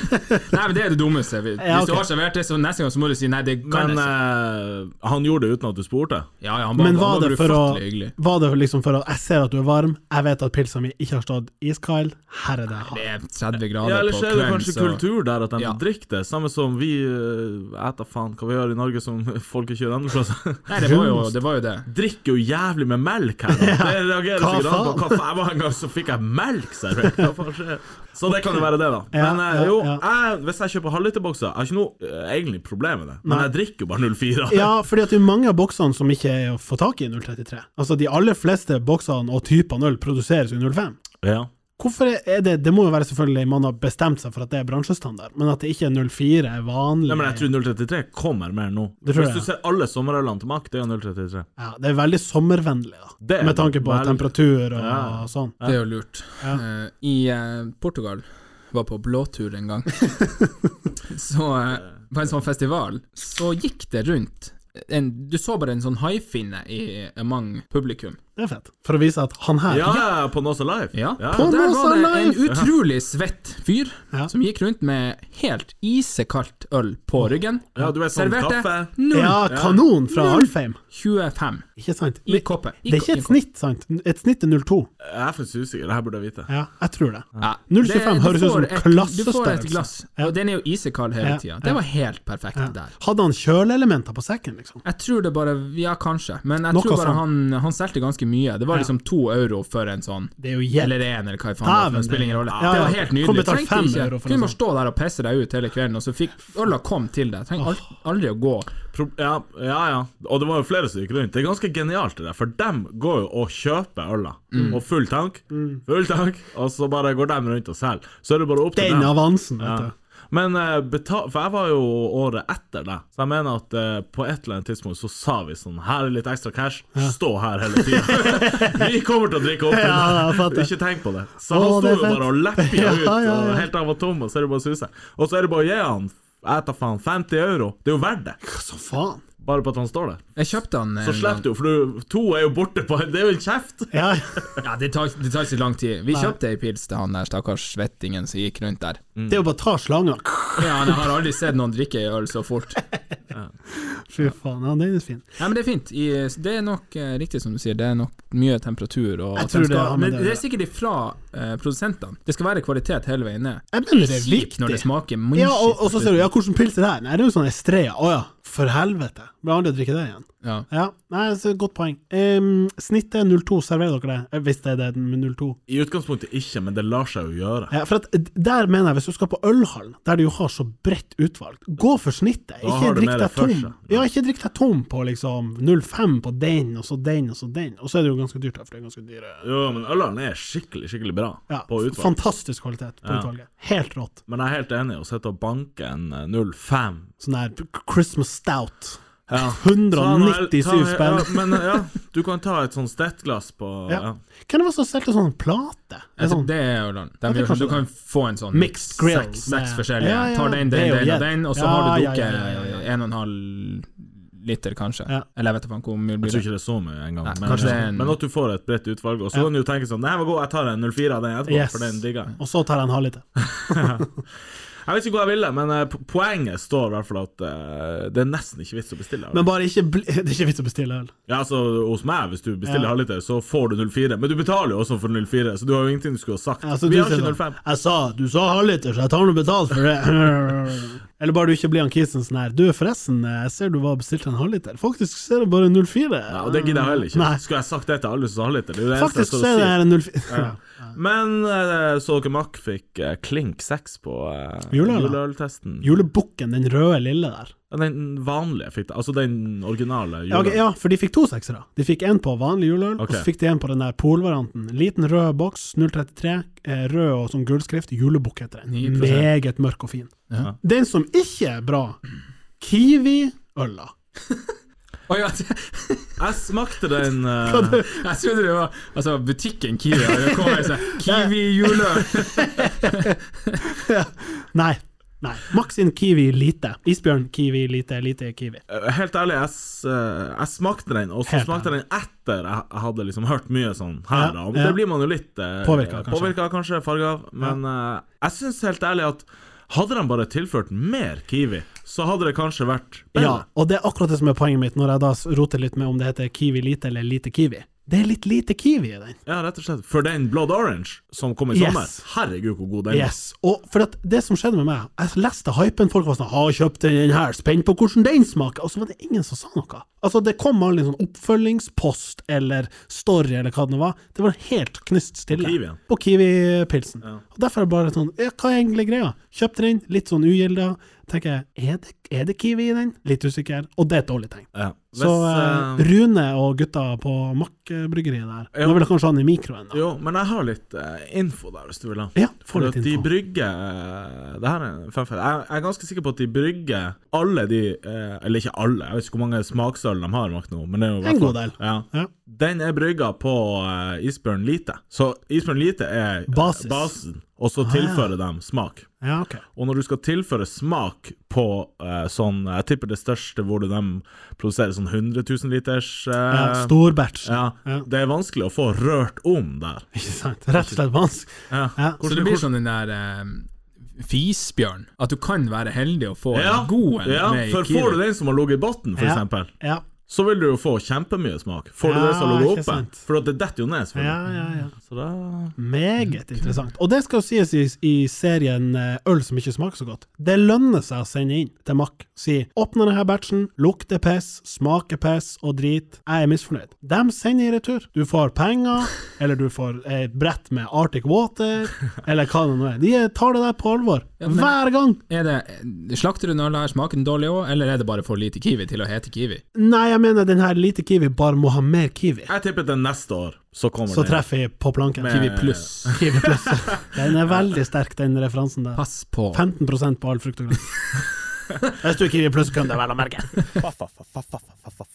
C: Nei, men det er det dummeste. Hvis
B: Ja,
C: du
B: ok.
C: har servert det, så neste gang så må du si nei, det kan
A: Men
C: jeg ikke.
A: eh, han gjorde det uten at du spurte.
C: Ja, ja, han
B: Men
C: han
B: var det for å-
C: ufattelig hyggelig.
B: Var det liksom for at jeg ser at du er varm, jeg vet at pilsa mi ikke har stått iskald, her er det jeg
C: Det
B: har.
C: er
A: Ja,
C: 30 grader
A: Ellers
C: på
A: er det
C: kvelden,
A: kanskje
C: så
A: kultur der at de
C: Ja.
A: drikker det, samme som vi uh, eter faen hva vi gjør i Norge som folk ikke gjør andre plasser.
C: Nei, det var jo det. Var jo det.
A: Drikker jo jævlig med melk her. da. Det reagerer
B: Hva
A: sikkert an på.
B: faen?
A: Hva faen var en gang så fikk jeg melk servert? Hva faen skjer? Så det kan jo være det, da.
B: Ja,
A: Men eh,
B: ja,
A: jo,
B: ja.
A: jeg, hvis jeg kjøper halvliterbokser, jeg har ikke noe eh, egentlig problem med det, men
B: Nei.
A: jeg drikker jo bare 04.
B: Ja, fordi at det er mange av boksene som ikke er å få tak i i 033. Altså, de aller fleste boksene og typene øl produseres i 05.
A: Ja.
B: Hvorfor er det Det må jo være selvfølgelig man har bestemt seg for at det er bransjestandard, men at det ikke er 04 er vanlig.
A: Nei, men jeg tror 033 kommer mer nå.
B: Det tror
A: Hvis du
B: jeg.
A: ser alle sommerølene til Mack, det er jo 033.
B: Ja, det er veldig sommervennlig, da.
A: Det er
B: Med tanke på
A: veldig-
B: temperatur og,
A: Ja.
B: og sånn.
C: Det er jo lurt.
B: Ja.
C: Eh, I eh, Portugal var på blåtur en gang. så eh, på en sånn festival, så gikk det rundt en, Du så bare en sånn haifinne i among publikum.
B: Det er fett. For å vise at han her
A: Ja, på Nåsa Live.
C: Ja.
B: På
C: Og der
B: Nåsa
C: var det en
B: Live!
C: utrolig svett fyr
B: Ja.
C: som gikk rundt med helt isekaldt øl på ryggen.
A: Ja, du vet, sånn
C: Serverte
A: kaffe.
C: null
B: Ja, kanon fra
C: Null.
B: Alfheim.
C: 25
B: Ikke sant?
C: i
B: Det
C: koppet. I
B: er
C: ko-
B: ikke
C: i
B: et
C: koppet.
B: snitt, sant? Et snitt er 02.
A: Jeg er faktisk usikker, det her burde jeg vite.
B: Ja, jeg tror det.
C: Ja.
B: 0,25
C: Det- du
B: høres ut som
C: får et- Du får et
B: klassestørrelse.
C: glass,
B: Ja.
C: og den er jo isekald
B: Ja,
C: hele tida.
B: ja.
C: Det var helt perfekt
B: Ja.
C: der.
B: Hadde han kjøleelementer på sekken, liksom?
C: Jeg tror det bare Ja, kanskje, men jeg
B: Noe
C: tror bare
B: sånn.
C: han, han solgte ganske mye. Det var
B: Ja.
C: liksom to euro for en sånn
B: Det er jo jævlig
C: eller en, eller hva faen det var, for
B: Dæven,
C: det spiller ingen rolle.
B: ja, ja.
C: Det var helt
B: Kom
C: nydelig.
B: betalt
C: Trengte
B: fem
C: ikke-
B: euro for noe
C: Kunne bare stå der og pisse deg ut hele kvelden, og så fikk øla kom til deg. Trenger al- aldri å gå.
A: Pro ja, ja, ja. Og det var jo flere som gikk rundt. Det er ganske genialt, det der. For dem går jo og kjøper øla.
B: Mm.
A: Og full tank, full tank, og så bare går dem rundt og selger. Så er det bare opp til
B: Den
A: dem.
B: avansen,
A: Ja.
B: vet du.
A: Men eh, beta- For jeg var jo året etter det, så jeg mener at eh, på et eller annet tidspunkt så sa vi sånn Her er litt ekstra cash, stå her hele tida. vi kommer til å drikke opp den.
B: Ja, jeg fatter.
A: Ikke tenk på det. Så
B: Å,
A: han sto
B: det er
A: jo
B: fett.
A: bare og leppa
B: Ja,
A: ut,
B: ja, ja.
A: og helt til han var tom, og så er det bare å suse. Og så er det bare å gi han jeg tar faen 50 euro. Det er jo verdt det,
B: Hva så faen?
A: bare på at han står der.
C: Jeg kjøpte han eh,
A: Så
C: en gang.
A: slipper du, for du, to er jo borte på Det er jo en kjeft!
B: Ja,
C: Ja, det tar, det tar ikke så lang tid. Vi
B: Nei.
C: kjøpte ei pils til han der stakkars svettingen som gikk rundt der.
B: det er jo bare å ta slangen.
C: Ja, han har aldri sett noen drikke ei øl så fort.
B: Fy faen, ja, den er fin.
C: Nei, men det er fint. I, det er nok eh, riktig som du sier, det er nok mye temperatur og
B: Jeg
C: at
B: tror
C: de
B: det
C: skal,
B: har med
C: Men
B: det å
C: det er
B: gjøre.
C: sikkert ifra eh, produsentene. Det skal være kvalitet hele veien ned.
B: Jeg mener det er
C: Slik når det
B: viktig.
C: smaker
B: Ja, og, og så ser du, ja, hvordan pils er det her? Nei, det er jo sånn Estrella. Å ja, for helvete. Blir aldri å drikke det igjen.
C: Ja.
B: Ja, nei, så godt poeng. Ehm, snittet er 02, serverer dere det? Eh, Hvis det er det den med 02.
A: I utgangspunktet ikke, men det lar seg jo gjøre.
B: Ja, for at d- der mener jeg, hvis du skal på ølhallen, der du jo har så bredt utvalg, gå for snittet. Ikke
A: har du
B: drikk
A: med
B: deg
A: deg
B: tom.
A: først, ja.
B: Ja, ikke drikk deg tom på liksom 05 på den, og så den, og så den. Og så er det jo ganske dyrt, da, for det er ganske dyre
A: Jo, men ølene er skikkelig, skikkelig bra
B: ja,
A: på utvalg.
B: Fantastisk kvalitet på
A: Ja.
B: utvalget. Helt rått.
A: Men jeg er helt enig, å sitte og banke en eh, 05
B: Sånn der Christmas stout.
A: Ja. Ta noe-
B: 197
A: ta-
B: spenn.
A: Ja, men eh, ja, du kan ta et sånt stettglass på
B: Ja.
A: ja.
B: Hvem var det som solgte sånn plate?
C: Jeg
B: En
C: tror
B: sånn
C: Altså, det er jo den. De
B: Ja, det er
C: gjør sånn,
B: kanskje
C: du kan få en sånn
B: Mixed grill
C: Seks,
B: med-
C: seks forskjellige.
B: Ja, ja,
C: Tar den,
B: det er
C: den,
B: jo
C: den og
B: gjett.
C: den, og så
B: Ja,
C: har du
B: ja,
C: drukket
B: ja, ja, ja, ja.
C: en og en halv liter, kanskje.
B: Ja.
C: Eller jeg vet ikke faen hvor mye
A: Jeg
C: blir
A: tror
C: det
A: ikke det er så mye engang,
C: Nei,
A: men,
C: kanskje det er en-
A: men at du får et bredt utvalg. Og så
B: Ja.
A: kan du jo tenke sånn Den her var god, jeg tar en 04 av den etterpå,
B: Yes.
A: for den digger jeg.
B: Og så tar jeg en halvliter.
A: Jeg vet ikke hva jeg ville, men eh, po- poenget står i hvert fall at eh, det er nesten ikke vits å bestille.
B: Men bare ikke bli, Det er ikke vits å bestille øl.
A: Ja, altså Hos meg, hvis du bestiller
B: Ja.
A: halvliter, så får du 04. Men du betaler jo også for 04, så du har jo ingenting du skulle ha sagt.
B: Altså,
A: Vi
B: du
A: har
B: sier sånn,
A: ikke 05.
B: Jeg sa du sa halvliter, så jeg tar nå betalt for det. Eller bare du ikke blir han kisen sånn her. Du, forresten, jeg ser du var bestilt en halvliter. Faktisk ser jeg bare 04.
A: Ja, og det gidder jeg heller ikke.
B: Nei.
A: Skulle jeg sagt det til alle som sa halvliter? Det er jo det eneste jeg
B: Faktisk
A: står
B: så
A: og
B: er det
A: sier.
B: her en 04. Ja.
A: Men eh, så dere Mack fikk eh, klink seks på eh,
B: Juleøl, da?
A: juleøltesten?
B: Julebukken, den røde lille der.
A: Ja, Den vanlige fikk det. Altså den originale
B: Ja, ok,
A: juleøl.
B: ja, for de fikk to seksere. De fikk én på vanlig juleøl,
A: Ok.
B: og så fikk de en på den der polvarianten. Liten rød boks, 033, eh, rød og sånn gullskrift. Julebukk heter den.
C: 9%.
B: Meget mørk og fin.
C: Ja.
B: Den som ikke er bra, Kiwi-øla.
C: Oi, jeg,
A: Jeg smakte den eh,
C: jeg trodde det var altså, butikken Kiwi. og det kom en sånn Kiwi-juleøl!
B: Nei. Nei. Max sin Kiwi lite. Isbjørn Kiwi lite, lite Kiwi.
A: Eh, Helt ærlig, jeg, s- eh, jeg smakte den, og så
B: Helt
A: smakte jeg den etter jeg jeg hadde liksom hørt mye sånn her,
B: Ja,
A: da.
B: ja.
A: Det blir man jo litt eh,
B: Påvirket, kanskje.
A: påvirket, kanskje farga av. Men eh, jeg syns helt ærlig at hadde de bare tilført mer Kiwi, så hadde det kanskje vært
B: Ja,
A: bedre.
B: og det er akkurat det som er poenget mitt når jeg da s- roter litt med om det heter Kiwi lite eller lite Kiwi. Det er litt lite Kiwi i den.
A: Ja. rett og slett. For den Blood Orange som kom i
B: Yes.
A: sommer, herregud, hvor god den var.
B: Yes. Og for at det som skjedde med meg, jeg leste hypen, folk var sånn 'Har kjøpt den her, spent på hvordan den smaker', og så var det ingen som sa noe. Altså, det kom aldri en sånn oppfølgingspost eller story eller hva det nå var. Det var helt knust stille.
A: Kiwien.
B: På Kiwi-pilsen.
A: Ja.
B: Og Derfor er det bare sånn ja, Hva er egentlig greia? Kjøpte den, litt sånn ugilda. Tenker jeg, er det, er det Kiwi i den? Litt usikker. Og det er et dårlig tegn.
A: Ja. Hvis,
B: Så eh,
A: eh,
B: Rune og gutta på Mack-bryggeriet der,
A: Ja.
B: nå vil jeg kanskje ha den i mikroen. da.
A: Jo, men jeg har litt eh, info der, hvis du vil ha.
B: Ja, få
A: For
B: litt
A: at de
B: info.
A: brygger eh, Det her er en fun fact. Jeg, jeg er ganske sikker på at de brygger alle de eh, Eller ikke alle, jeg vet ikke hvor mange smaksøl de har makt nå, men det er jo i hvert
B: En god
A: fall-
B: del.
A: Ja.
B: Ja.
A: Den er brygga på eh, isbjørn lite. Så isbjørn lite er eh,
B: Basis.
A: basen, og så
B: Ah, ja.
A: tilfører de smak.
B: Ja, ok.
A: Og når du skal tilføre smak på eh, sånn Jeg tipper det største hvor de produserer sånn 100 000 liters eh,
B: Ja, stor batch.
A: ja,
B: Ja.
A: Det er vanskelig å få rørt om der.
B: Ikke sant? Rett og slett vanskelig.
A: Ja.
B: Ja.
C: Så det blir sånn den der eh, fisbjørn. At du kan være heldig og få en god en
A: sånn- ja,
C: med
A: for
C: Kiwi.
A: får du den som har ligget i bunnen,
B: Ja.
A: f.eks.,
B: Ja,
A: så vil du jo få kjempemye smak. Får du
B: Ja,
A: det som har
B: ikke
A: ligget
B: sant.
A: oppe, for at det detter jo ned. selvfølgelig.
B: ja, ja. ja.
A: Så da
B: Meget interessant. Og det skal jo sies i, i serien eh, Øl som ikke smaker så godt. Det lønner seg å sende inn til Mack. Si 'åpne denne batchen, lukter piss, smaker piss og drit, jeg er misfornøyd'. De sender i retur. Du får penger, eller du får et brett med Arctic Water, eller hva det nå er. De tar det der på alvor.
C: Ja, men-
B: Hver gang.
C: Er det Slakter du den øla her, smaker den dårlig òg, eller er det bare for lite kiwi til å hete kiwi?
B: Nei, jeg mener den her lite kiwi bare må ha mer kiwi.
A: Jeg tipper til neste år så kommer
B: Så
A: den.
B: treffer jeg på planken.
A: Med-
C: Kiwi pluss.
B: Kiwi pluss. Den er veldig sterk, den referansen der.
C: Pass på.
B: 15 på all frukt og grønt. Hvis du ikke gir pluss, kan det vel å merke.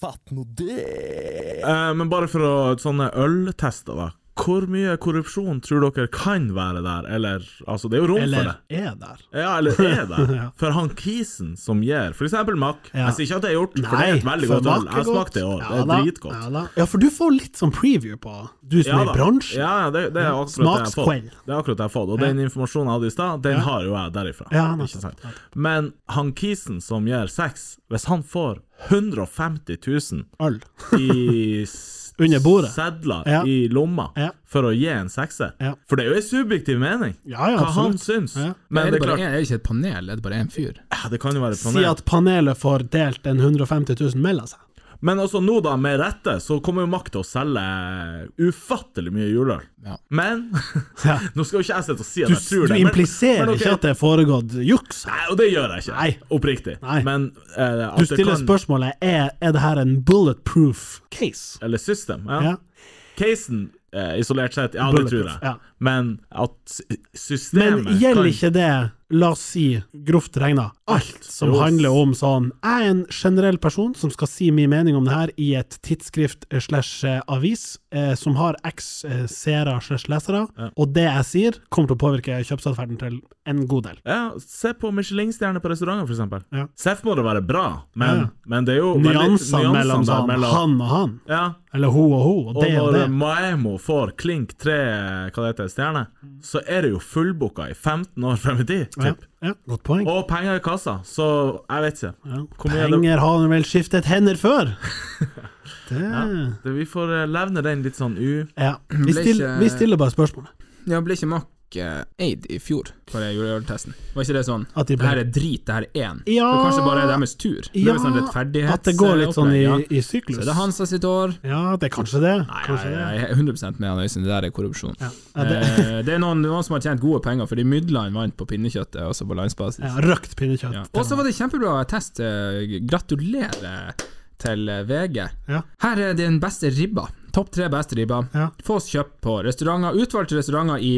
D: Fatt nå det!
A: Eh, men bare for å, sånne øltester, da. Hvor mye korrupsjon tror dere kan være der? Eller Altså, det er jo rom for
B: Eller
A: det.
B: er der.
A: Ja, eller er det?
B: Ja.
A: For han kisen som gir f.eks. Mack
B: Ja.
A: Jeg sier ikke at det er gjort, for det er et veldig
B: for
A: godt øl.
B: mak er
A: Jeg smakte det i år.
B: Ja
A: Det er
B: da,
A: dritgodt.
B: Ja, da. ja, for du får litt sånn preview på Du som er
A: da.
B: i bransjen.
A: Ja, ja, det, det er akkurat det jeg har fått.
B: Smakskveld.
A: Det er akkurat det jeg har fått. Og den informasjonen jeg hadde i stad, den har jo jeg derifra.
B: Ja, nettopp,
A: ikke sant? Men han Kisen som gjør sex, hvis han får 150 000
B: Øl.
A: i s-
B: Under bordet.
A: sedler
B: Ja.
A: i lomma
B: Ja.
A: for å gi en sekser
B: Ja.
A: For det er jo en subjektiv mening,
B: Ja, ja,
A: hva han
B: absolutt.
A: syns.
B: Ja.
A: Men
C: er
A: det er
C: det bare
A: klart,
C: en, er det ikke et panel, er det bare én fyr?
A: ja, det kan jo være
B: Si
A: planer.
B: at panelet får delt en 150 000 mellom seg.
A: Men også nå, da, med rette, så kommer jo Makt til å selge ufattelig mye juleøl.
C: Ja.
A: Men
B: Ja.
A: Nå skal jo ikke jeg sitte og si at
B: Du,
A: jeg
B: du
A: tror det. men-
B: impliserer
A: men ok,
B: ikke at det er foregått juks? her.
A: Nei, og det gjør jeg ikke.
B: Nei.
A: Oppriktig.
B: Nei.
A: Men eh, at
B: Du stiller
A: det kan,
B: spørsmålet er, er det her en bulletproof case.
A: Eller system. Ja.
B: Ja.
A: Casen eh, isolert sett, ja, det tror
B: Bulletproof,
A: jeg.
B: ja.
A: Men at s- systemet
B: Men gjelder
A: kan-
B: ikke det la oss si, grovt regna, alt som
A: Jo.
B: handler om sånn Jeg er en generell person som skal si min mening om det her i et tidsskrift eh, slash eh, avis eh, som har x eh, seere slash lesere,
A: Ja.
B: og det jeg sier, kommer til å påvirke kjøpsatferden til en god del.
A: Ja, se på Michelin-stjerner på restauranter, for eksempel.
B: Ja.
A: Seff må det være bra, men,
B: Ja.
A: men det er jo veldig-
B: Nyansene mellom
A: der
B: sånn han og han,
A: Ja,
B: eller hun og hun, og
A: og
B: det og
A: når
B: det.
A: Maemo får klink tre hva det heter, stjerner, så er det jo fullbooka i 15 år frem i tid,
B: Ja,
A: typ.
B: ja, godt poeng.
A: Og penger i kassa, så jeg vet ikke.
B: Ja.
A: Hvor mye er det-
B: Penger har han vel skiftet hender før? Det
A: Ja. Det, vi får eh, levne den litt sånn u...
B: Ja. Vi,
C: Ble
B: still,
C: ikke-
B: vi stiller bare spørsmålet.
C: Ja, ble ikke Mack eh, eid i fjor for den juleøltesten? Var ikke det sånn
B: At de
C: Det her
B: ble
C: er drit, det her er én.
B: Ja,
C: Men kanskje bare er deres tur? Det
B: Ja,
C: er vel sånn
B: at det går litt sånn i,
C: rettferdighetsopplegg,
B: i
C: ja.
B: syklus.
C: Så er det Hansa sitt år.
B: Ja, det er kanskje det.
C: Nei,
B: Kanskje
C: jeg,
B: det.
C: jeg er 100 med han Øystein, det der er korrupsjon.
B: Ja. Ja, det,
C: Eh, det er noen, noen som har tjent gode penger, fordi Mydland vant på pinnekjøttet, også på landsbasis.
B: ja, røkt pinnekjøtt.
C: Eh, Ja. Og så var det kjempebra test. eh, Gratulerer til eh, VG.
B: Ja.
C: Her er den beste ribba. Topp tre beste ribba.
B: Ja.
C: Fås kjøpt på restauranter. Utvalgte restauranter i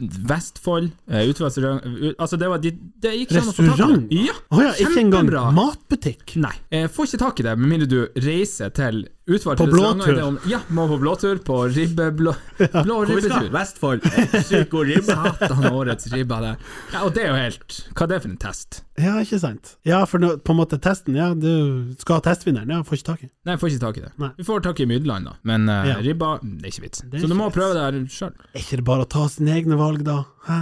C: Vestfold. eh, Utvalgte restauranter ut- Altså, det var de, Det gikk ikke an å få tak i
B: Restaurant?
C: det. Ja!
B: Å ja, ikke engang
C: Kjempebra.
B: matbutikk.
C: Nei. Eh, får ikke tak i det, med mindre du reiser til utvalgte
B: På blåtur.
C: i det om- Ja, må på blåtur. På ribbe... Blå, blå
A: Hvor vi skal?
C: ribbetur.
A: Vestfold. Sykt god ribbe.
C: Satan, årets ribba der. Ja, og det er jo helt Hva er det for en test?
B: Ja, ikke sant. Ja, for nå- på en måte testen, ja, du skal ha testvinneren, ja, får ikke tak i.
C: Nei, jeg får ikke tak i det.
B: Nei.
C: Vi får tak i Mydland, da. Men eh,
B: Ja.
C: ribba, det er ikke vits.
B: er
C: Så du
B: ikke
C: må
B: vits.
C: prøve det her sjøl.
B: Er ikke det bare å ta sine egne valg, da? Hæ?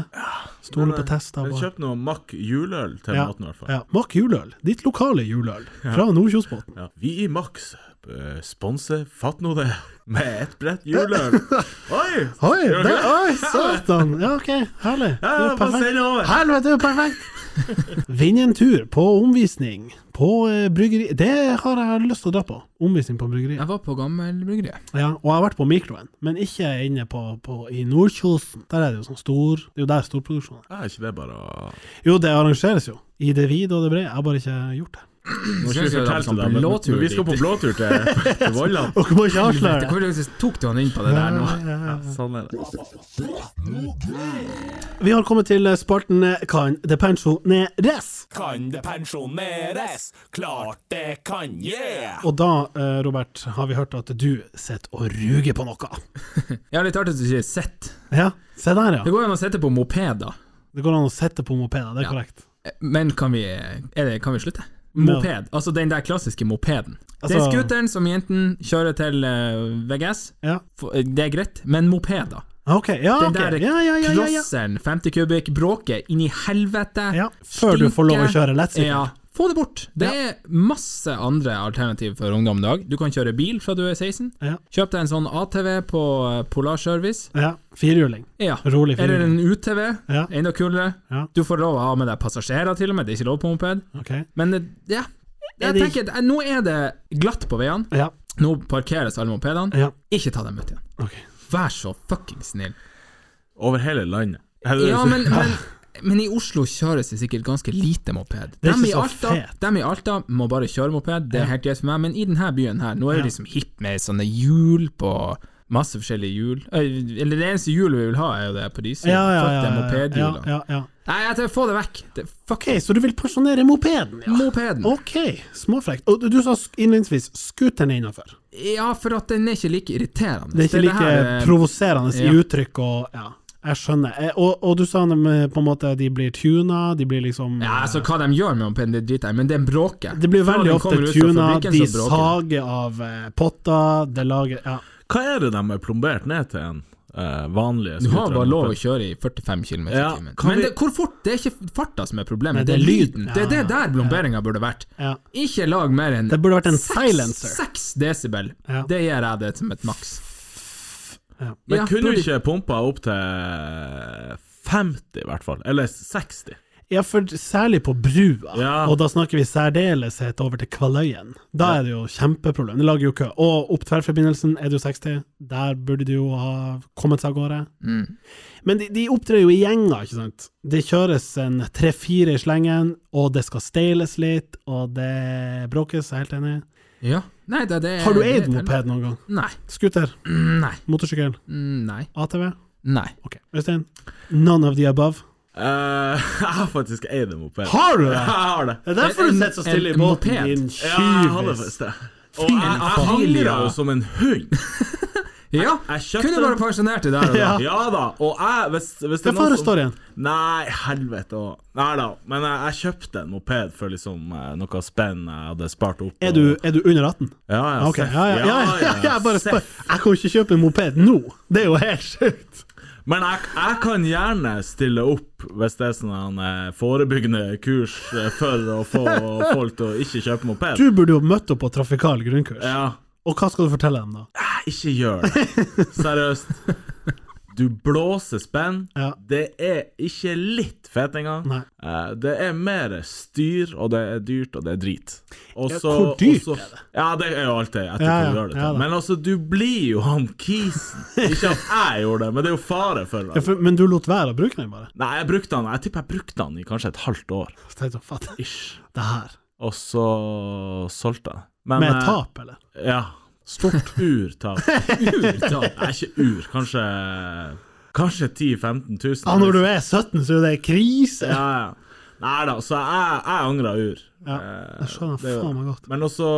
B: Stole
A: Men,
B: på
A: eh,
B: tester,
A: Men
B: bare.
A: kjøp noe Mack juleøl til
B: Ja.
A: maten, i hvert fall.
B: Ja, Mak juleøl. Ditt lokale juleøl. Fra Nordkjosbotn.
A: Ja. Vi i Max eh, sponser Fatt nå det med ett brett juleøl. Oi!
B: Oi,
A: Ja,
B: det,
A: ok.
B: oi, satan! Ja, ok, herlig. Det
A: Ja, ja,
B: er
A: bare
B: perfekt.
A: send det over.
B: Helvete, det er perfekt! Vinn en tur på omvisning på eh, bryggeri. Det har jeg lyst til å dra på. Omvisning på bryggeri.
C: Jeg var på Gammelbryggeriet.
B: Ja, og jeg har vært på mikroen, men ikke inne på, på i Nordkjosen. Der er det jo sånn stor Det er jo der storproduksjonen er.
A: Ja, Er ikke det bare å
B: Jo, det arrangeres jo. I det vide og det brede. Jeg har bare ikke gjort det.
A: Nå
C: skal vi
A: fortelle
C: dra på sånn
A: deg, men-
C: blåtur
A: men Vi skal på
C: dit.
A: blåtur til, til Vollan.
B: Dere må ikke avsløre det.
C: Hvor tok du han inn på det der nå?
A: Ja, sånn er det.
B: Vi har kommet til eh, spalten eh, Kan det pensjoneres?
D: Kan det pensjoneres? Klart det kan, yeah!
B: Og da, eh, Robert, har vi hørt at du sitter og ruger på noe.
C: Ja, litt artig at du sier sett.
B: Ja, se der,
C: Det
B: ja.
C: går jo an å sitte på mopeder.
B: Det går an å sette på mopeder, det er
C: Ja.
B: korrekt.
C: Men kan vi, er det, kan vi slutte? Moped. Altså den der klassiske mopeden. det er
B: Altså-
C: scooteren som jenten kjører til eh, VGS.
B: Ja.
C: F- Det er greit, men mopeder.
B: Ah, Ok, ja,
C: Den
B: ok.
C: der
B: Ja, ja, ja, ja, ja.
C: crosseren, 50 kubikk, bråket inn i helvete.
B: ja. Før du får lov å kjøre lettsykkel.
C: Ja, få det bort. Det er masse andre alternativ for ungdom i dag. Du kan kjøre bil fra du er 16.
B: Ja.
C: Kjøp deg en sånn ATV på eh, Polar Service.
B: Ja. Firhjuling.
C: Ja.
B: Rolig
C: Eller
B: firhjuling.
C: en UTV.
B: Ja.
C: Enda kulere.
B: Ja.
C: Du får lov å ha med deg passasjerer, til og med. Det er ikke lov på moped.
B: Ok.
C: Men eh, ja.
B: Er
C: Jeg
B: det
C: tenker, at, eh, Nå er det glatt på veiene.
B: Ja.
C: Nå parkeres alle mopedene.
B: Ja.
C: Ikke ta dem ut igjen.
B: Ok.
C: Vær så fuckings snill.
A: Over hele landet. Er det-
C: Ja, men, men, men i Oslo kjøres det sikkert ganske lite moped.
B: Det er
C: Dem i,
B: ikke så
C: Alta,
B: fet.
C: dem i Alta må bare kjøre moped, det er helt greit for meg, men i denne byen her, nå er
B: Ja.
C: det liksom hipp med sånne hjul på masse forskjellige hjul. Eh, Eller det eneste hjulet vi vil ha, er jo det
B: Ja,
C: pariserhjulet.
B: ja, ja.
C: Fuck det
B: ja, ja,
C: mopedhjulet.
B: ja, ja.
C: Nei, jeg tar, få det vekk. Det, fuck
B: Ok, så du vil pensjonere mopeden? Ja.
C: mopeden.
B: Ok, småfrekt. Og du- du sa sk- innledningsvis scooteren er innafor.
C: Ja, for at den er ikke like irriterende.
B: Det er ikke like
C: her, eh,
B: provoserende i
C: ja.
B: uttrykk og ja. Jeg skjønner. Eh, Og, og du sa dem, eh, på en måte de blir tuna, de blir liksom
C: Ja, altså Hva de gjør med mopeden, det driter jeg i, men det er en bråke.
B: Det blir
C: Fra
B: veldig
C: den
B: ofte
C: kommer ut fra
B: tuna,
C: fabrikken,
B: de
C: så bråker
B: sager
C: den.
B: av eh, potter, det lager Ja.
A: Hva er det de er plombert ned til en eh, vanlig
C: Du har
A: scooter?
C: bare lov å kjøre i 45 km i
A: Ja,
C: timen.
A: kan
C: Men
A: vi-
C: det, hvor fort? Det er ikke farta som er problemet,
B: Nei,
C: det, er lyden. Det er det
B: Ja,
C: der blomberinga burde vært.
B: ja.
C: Ikke lag mer enn
B: Det burde vært en
C: seks-
B: silencer.
C: Seks desibel.
B: Ja.
C: Det gir jeg det som et maks.
A: Men
C: Ja,
A: kunne
C: burde-
A: du ikke pumpa opp til 50, i hvert fall? Eller 60?
B: Ja, for særlig på brua,
A: Ja.
B: og da snakker vi særdeleshet over til Kvaløyen. Da er det jo kjempeproblem. Det lager jo kø. Og opp tverrforbindelsen er det jo 60, der burde det jo ha kommet seg av gårde.
A: Mm.
B: Men de, de opptrer jo i gjenger, ikke sant. Det kjøres en tre-fire i slengen, og det skal steiles litt, og det bråkes, jeg er helt enig.
C: Ja. Nei, det, det
B: Har du
A: Eh,
C: det-
B: eid moped noen gang?
C: Nei. Mm,
B: Scooter?
C: Nei. Mm,
B: Motorsykkel?
C: Nei.
B: ATV?
C: Nei.
B: Ok, Øystein? None of the above?
A: Eh, jeg har faktisk eid en moped.
B: Har du
A: Jeg
B: det?!
A: har det.
B: Det er derfor du
C: En-
B: sitter så stille i båten,
C: en moped.
B: din
A: Ja, jeg hadde
B: tjuvis.
A: faktisk det. Og jeg, jeg
C: familie.
A: angrer jo som en hund.
C: Ja,
A: Jeg
C: kunne
A: kjøpte
C: bare
A: den.
C: pensjonert det der og da.
B: Ja.
A: Ja da. Og jeg, hvis, hvis det
B: Hva
A: er
B: faen
A: noen
B: det
A: som
B: står igjen?
A: Nei, helvete òg. Nei da. Men jeg, jeg kjøpte en moped for liksom eh, noe spenn jeg hadde spart opp.
B: Er du, er du under 18?
A: Ja, ja.
B: Ok,
A: seff.
B: ja, ja, ja, ja, ja, jeg bare spør.
A: seff.
B: Jeg kan jo ikke kjøpe en moped nå! Det er jo helt sjukt!
A: Men jeg, jeg kan gjerne stille opp hvis det er sånn en, eh, forebyggende kurs eh, for å få folk til å ikke kjøpe moped.
B: Du burde jo møtt opp på trafikal grunnkurs.
A: Ja,
B: Og hva skal du fortelle dem, da?
A: ikke gjør det. Seriøst. Du blåser spenn.
B: Ja.
A: Det er ikke litt fett engang.
B: Nei.
A: Eh, Det er mer styr, og det er dyrt, og det er drit. Og
B: Ja,
A: så-
B: hvor dyrt
A: og så-
B: er det?
A: Ja, det er jo alltid etter
B: Ja,
A: hva du
B: ja,
A: gjør det
B: ja
A: til.
B: da.
A: Men altså, du blir jo han kisen. Ikke at jeg gjorde det, men det er jo fare for
B: Ja,
A: det.
B: for, men du lot være å bruke den, bare?
A: Nei, jeg brukte han, jeg tipper jeg brukte han i kanskje et halvt år.
B: Så tenkte jeg, faen,
A: Ish.
B: det her
A: Og så solgte jeg. Men,
B: Med
A: eh,
B: tap, eller?
A: Ja. Stort urtap.
C: Urtap.
A: Nei, ikke ur, kanskje Kanskje 10 000-15 000.
B: Ja, når du er 17, så er jo det krise!
A: ja, ja. Nei da, så jeg, jeg angrer ur.
B: Ja, jeg skjønner
A: det er jo-
B: faen meg godt.
A: Men også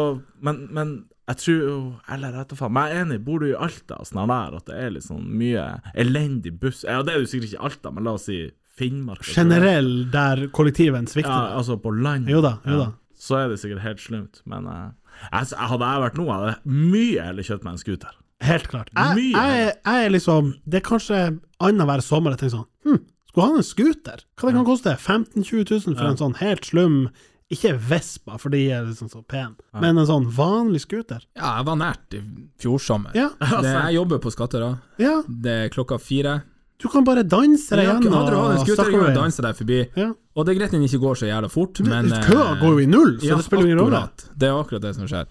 A: Men, men jeg tror jo Eller jeg vet da faen. Men jeg er enig, bor du i Alta og sånn der, at det er litt sånn mye elendig buss Ja, det er jo sikkert ikke i Alta, men la oss si Finnmark. eller sånn.
B: Generell der kollektiven
A: Ja,
B: svikter.
A: altså på land.
B: Jo da, jo da.
A: Ja. Så er det sikkert helt slumt, men eh, jeg, jeg- hadde jeg vært nå, hadde jeg mye heller kjøpt meg en scooter.
B: Helt klart. Jeg,
A: Mye.
B: jeg, jeg er liksom Det er kanskje annenhver sommer jeg tenker sånn hm, Skulle han en scooter? Hva det kan koste? 15 000-20 000 for en sånn helt slum Ikke Vespa, for de er liksom så pen men en sånn vanlig scooter.
C: Ja, jeg var nært i fjor sommer.
B: Ja,
C: Det,
A: Altså.
C: jeg jobber på Skattera.
B: ja.
C: Det er klokka fire.
B: Du kan bare danse deg
C: Ja,
B: gjennom
C: Hadde du hatt en scooter,
B: Stakkeveien.
C: kunne du
B: danse
C: dansa deg forbi.
B: Ja.
C: Og det er greit den ikke går så jævla fort, men eh,
B: Køa går jo i null, så
C: ja,
B: det spiller ingen rolle.
C: akkurat. Det er akkurat det som skjer.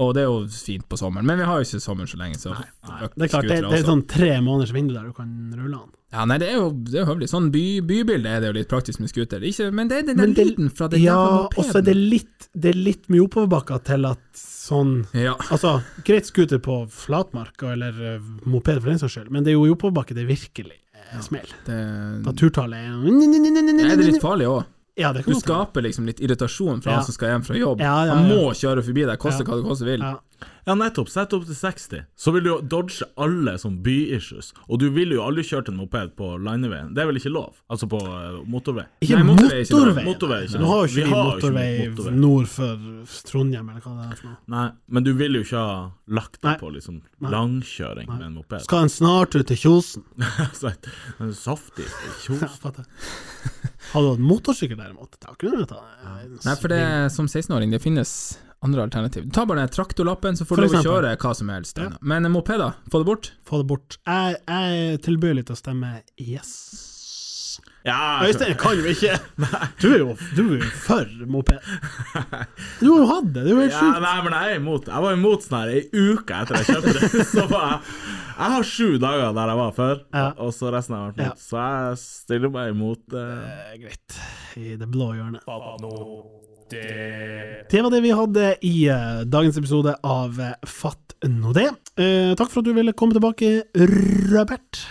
C: Og det er jo fint på sommeren, men vi har jo ikke sommeren så lenge, så fuck
B: Det er klart, det,
C: skutere
B: det er
C: også.
B: sånn tre måneders vindu der du kan rulle den.
C: Ja, nei, det er jo det er jo høvelig. Sånn by, bybilde er det jo litt praktisk med scooter. Ikke, men det er den der
B: Men det-
C: lyden fra den
B: ja,
C: jævla
B: og så er det litt, det er litt mye oppoverbakker til at sånn
C: Ja.
B: Altså, greit scooter på flatmarka, eller eh, moped for den saks skyld, men det er jo i oppoverbakke det virkelig eh, smell.
C: Det,
B: Da turtallet er
C: Nei, det er litt farlig òg.
B: Ja, det kan
C: Du
B: godt hende.
C: skaper liksom litt irritasjon fra
B: Ja.
C: han som skal hjem fra jobb.
B: Ja, ja,
C: Han
B: ja.
C: må kjøre forbi deg, koste
B: Ja.
C: hva det koste vil.
B: Ja.
A: Ja, nettopp. Sett opp til 60, så vil du jo dodge alle sånn by-issues. Og du vil jo aldri kjørt en moped på landeveien. Det er vel ikke lov? Altså på eh, motorvei.
B: Ikke
C: Nei, motorvei er ikke lov.
B: motorvei.
A: Motorvei er
B: Nå
A: ikke lov.
B: har jo ikke
A: Vi
B: vi
A: har jo ikke
B: motorvei,
A: motorvei.
B: nord for Trondheim, eller hva det er for noe.
A: Nei, men du vil jo ikke ha lagt
B: Nei.
A: deg på liksom
B: Nei.
A: langkjøring med en moped.
B: Skal en snartur til Kjosen?
A: Så et- en saftig
B: Ja,
A: kjos.
B: fatter. Hadde du hatt motorsykkel derimot, da kunne du ta den.
C: Nei, for det som 16-åring, det finnes andre alternativ. Ta bare den traktorlappen, så
B: For
C: får du lov å
B: eksempel.
C: kjøre hva som helst. Men mopeder, få det bort.
B: Få det bort. Jeg, jeg tilbøyer litt å stemme yes.
A: Ja, jeg skjønner.
B: Øystein kan jo ikke! Du er jo, du er jo for moped. Du har jo hatt det, det er jo helt
A: ja,
B: sjukt.
A: nei, men jeg er imot. Jeg var imot sånn her ei uke etter jeg kjøpte det. Så var jeg, jeg har sju dager der jeg var før,
B: Ja.
A: og så resten har jeg vært
B: Ja.
A: mot. Så jeg stiller meg imot. eh,
B: Eh, Greit. I det blå hjørnet.
D: Det
B: Det var det vi hadde i eh, dagens episode av eh, Fatt nå det. Eh, takk for at du ville komme tilbake, Robert.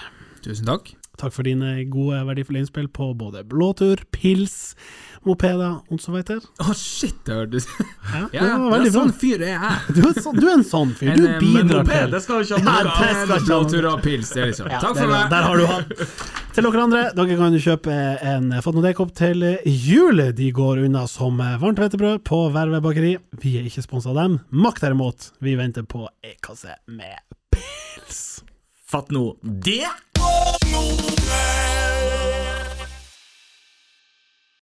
C: Tusen takk.
B: Takk for dine gode, verdifulle innspill på både blåtur, pils, mopeder og så videre.
C: Å, shit, det hørtes
B: Ja,
C: Ja, ja,
B: det var veldig bra.
C: sånn fyr er jeg.
B: Du er, sånn- du er en sånn fyr.
C: En,
B: Du
C: eh,
B: bidrar
A: moped,
B: til
A: det skal du
B: Ja,
A: ikke ha noe av.
B: det skal ikke ha noe.
C: Blåtur og pils, det er liksom.
B: Ja,
C: Takk
B: der,
C: for meg.
B: Der har du han. Til dere andre, dere kan kjøpe eh, en Fatnodekopp til jul. De går unna som eh, varmt hvetebrød på Verve bakeri. Vi er ikke sponsa av dem. Makt derimot, vi venter på ei kasse med pils.
A: Fatt nå det!
D: er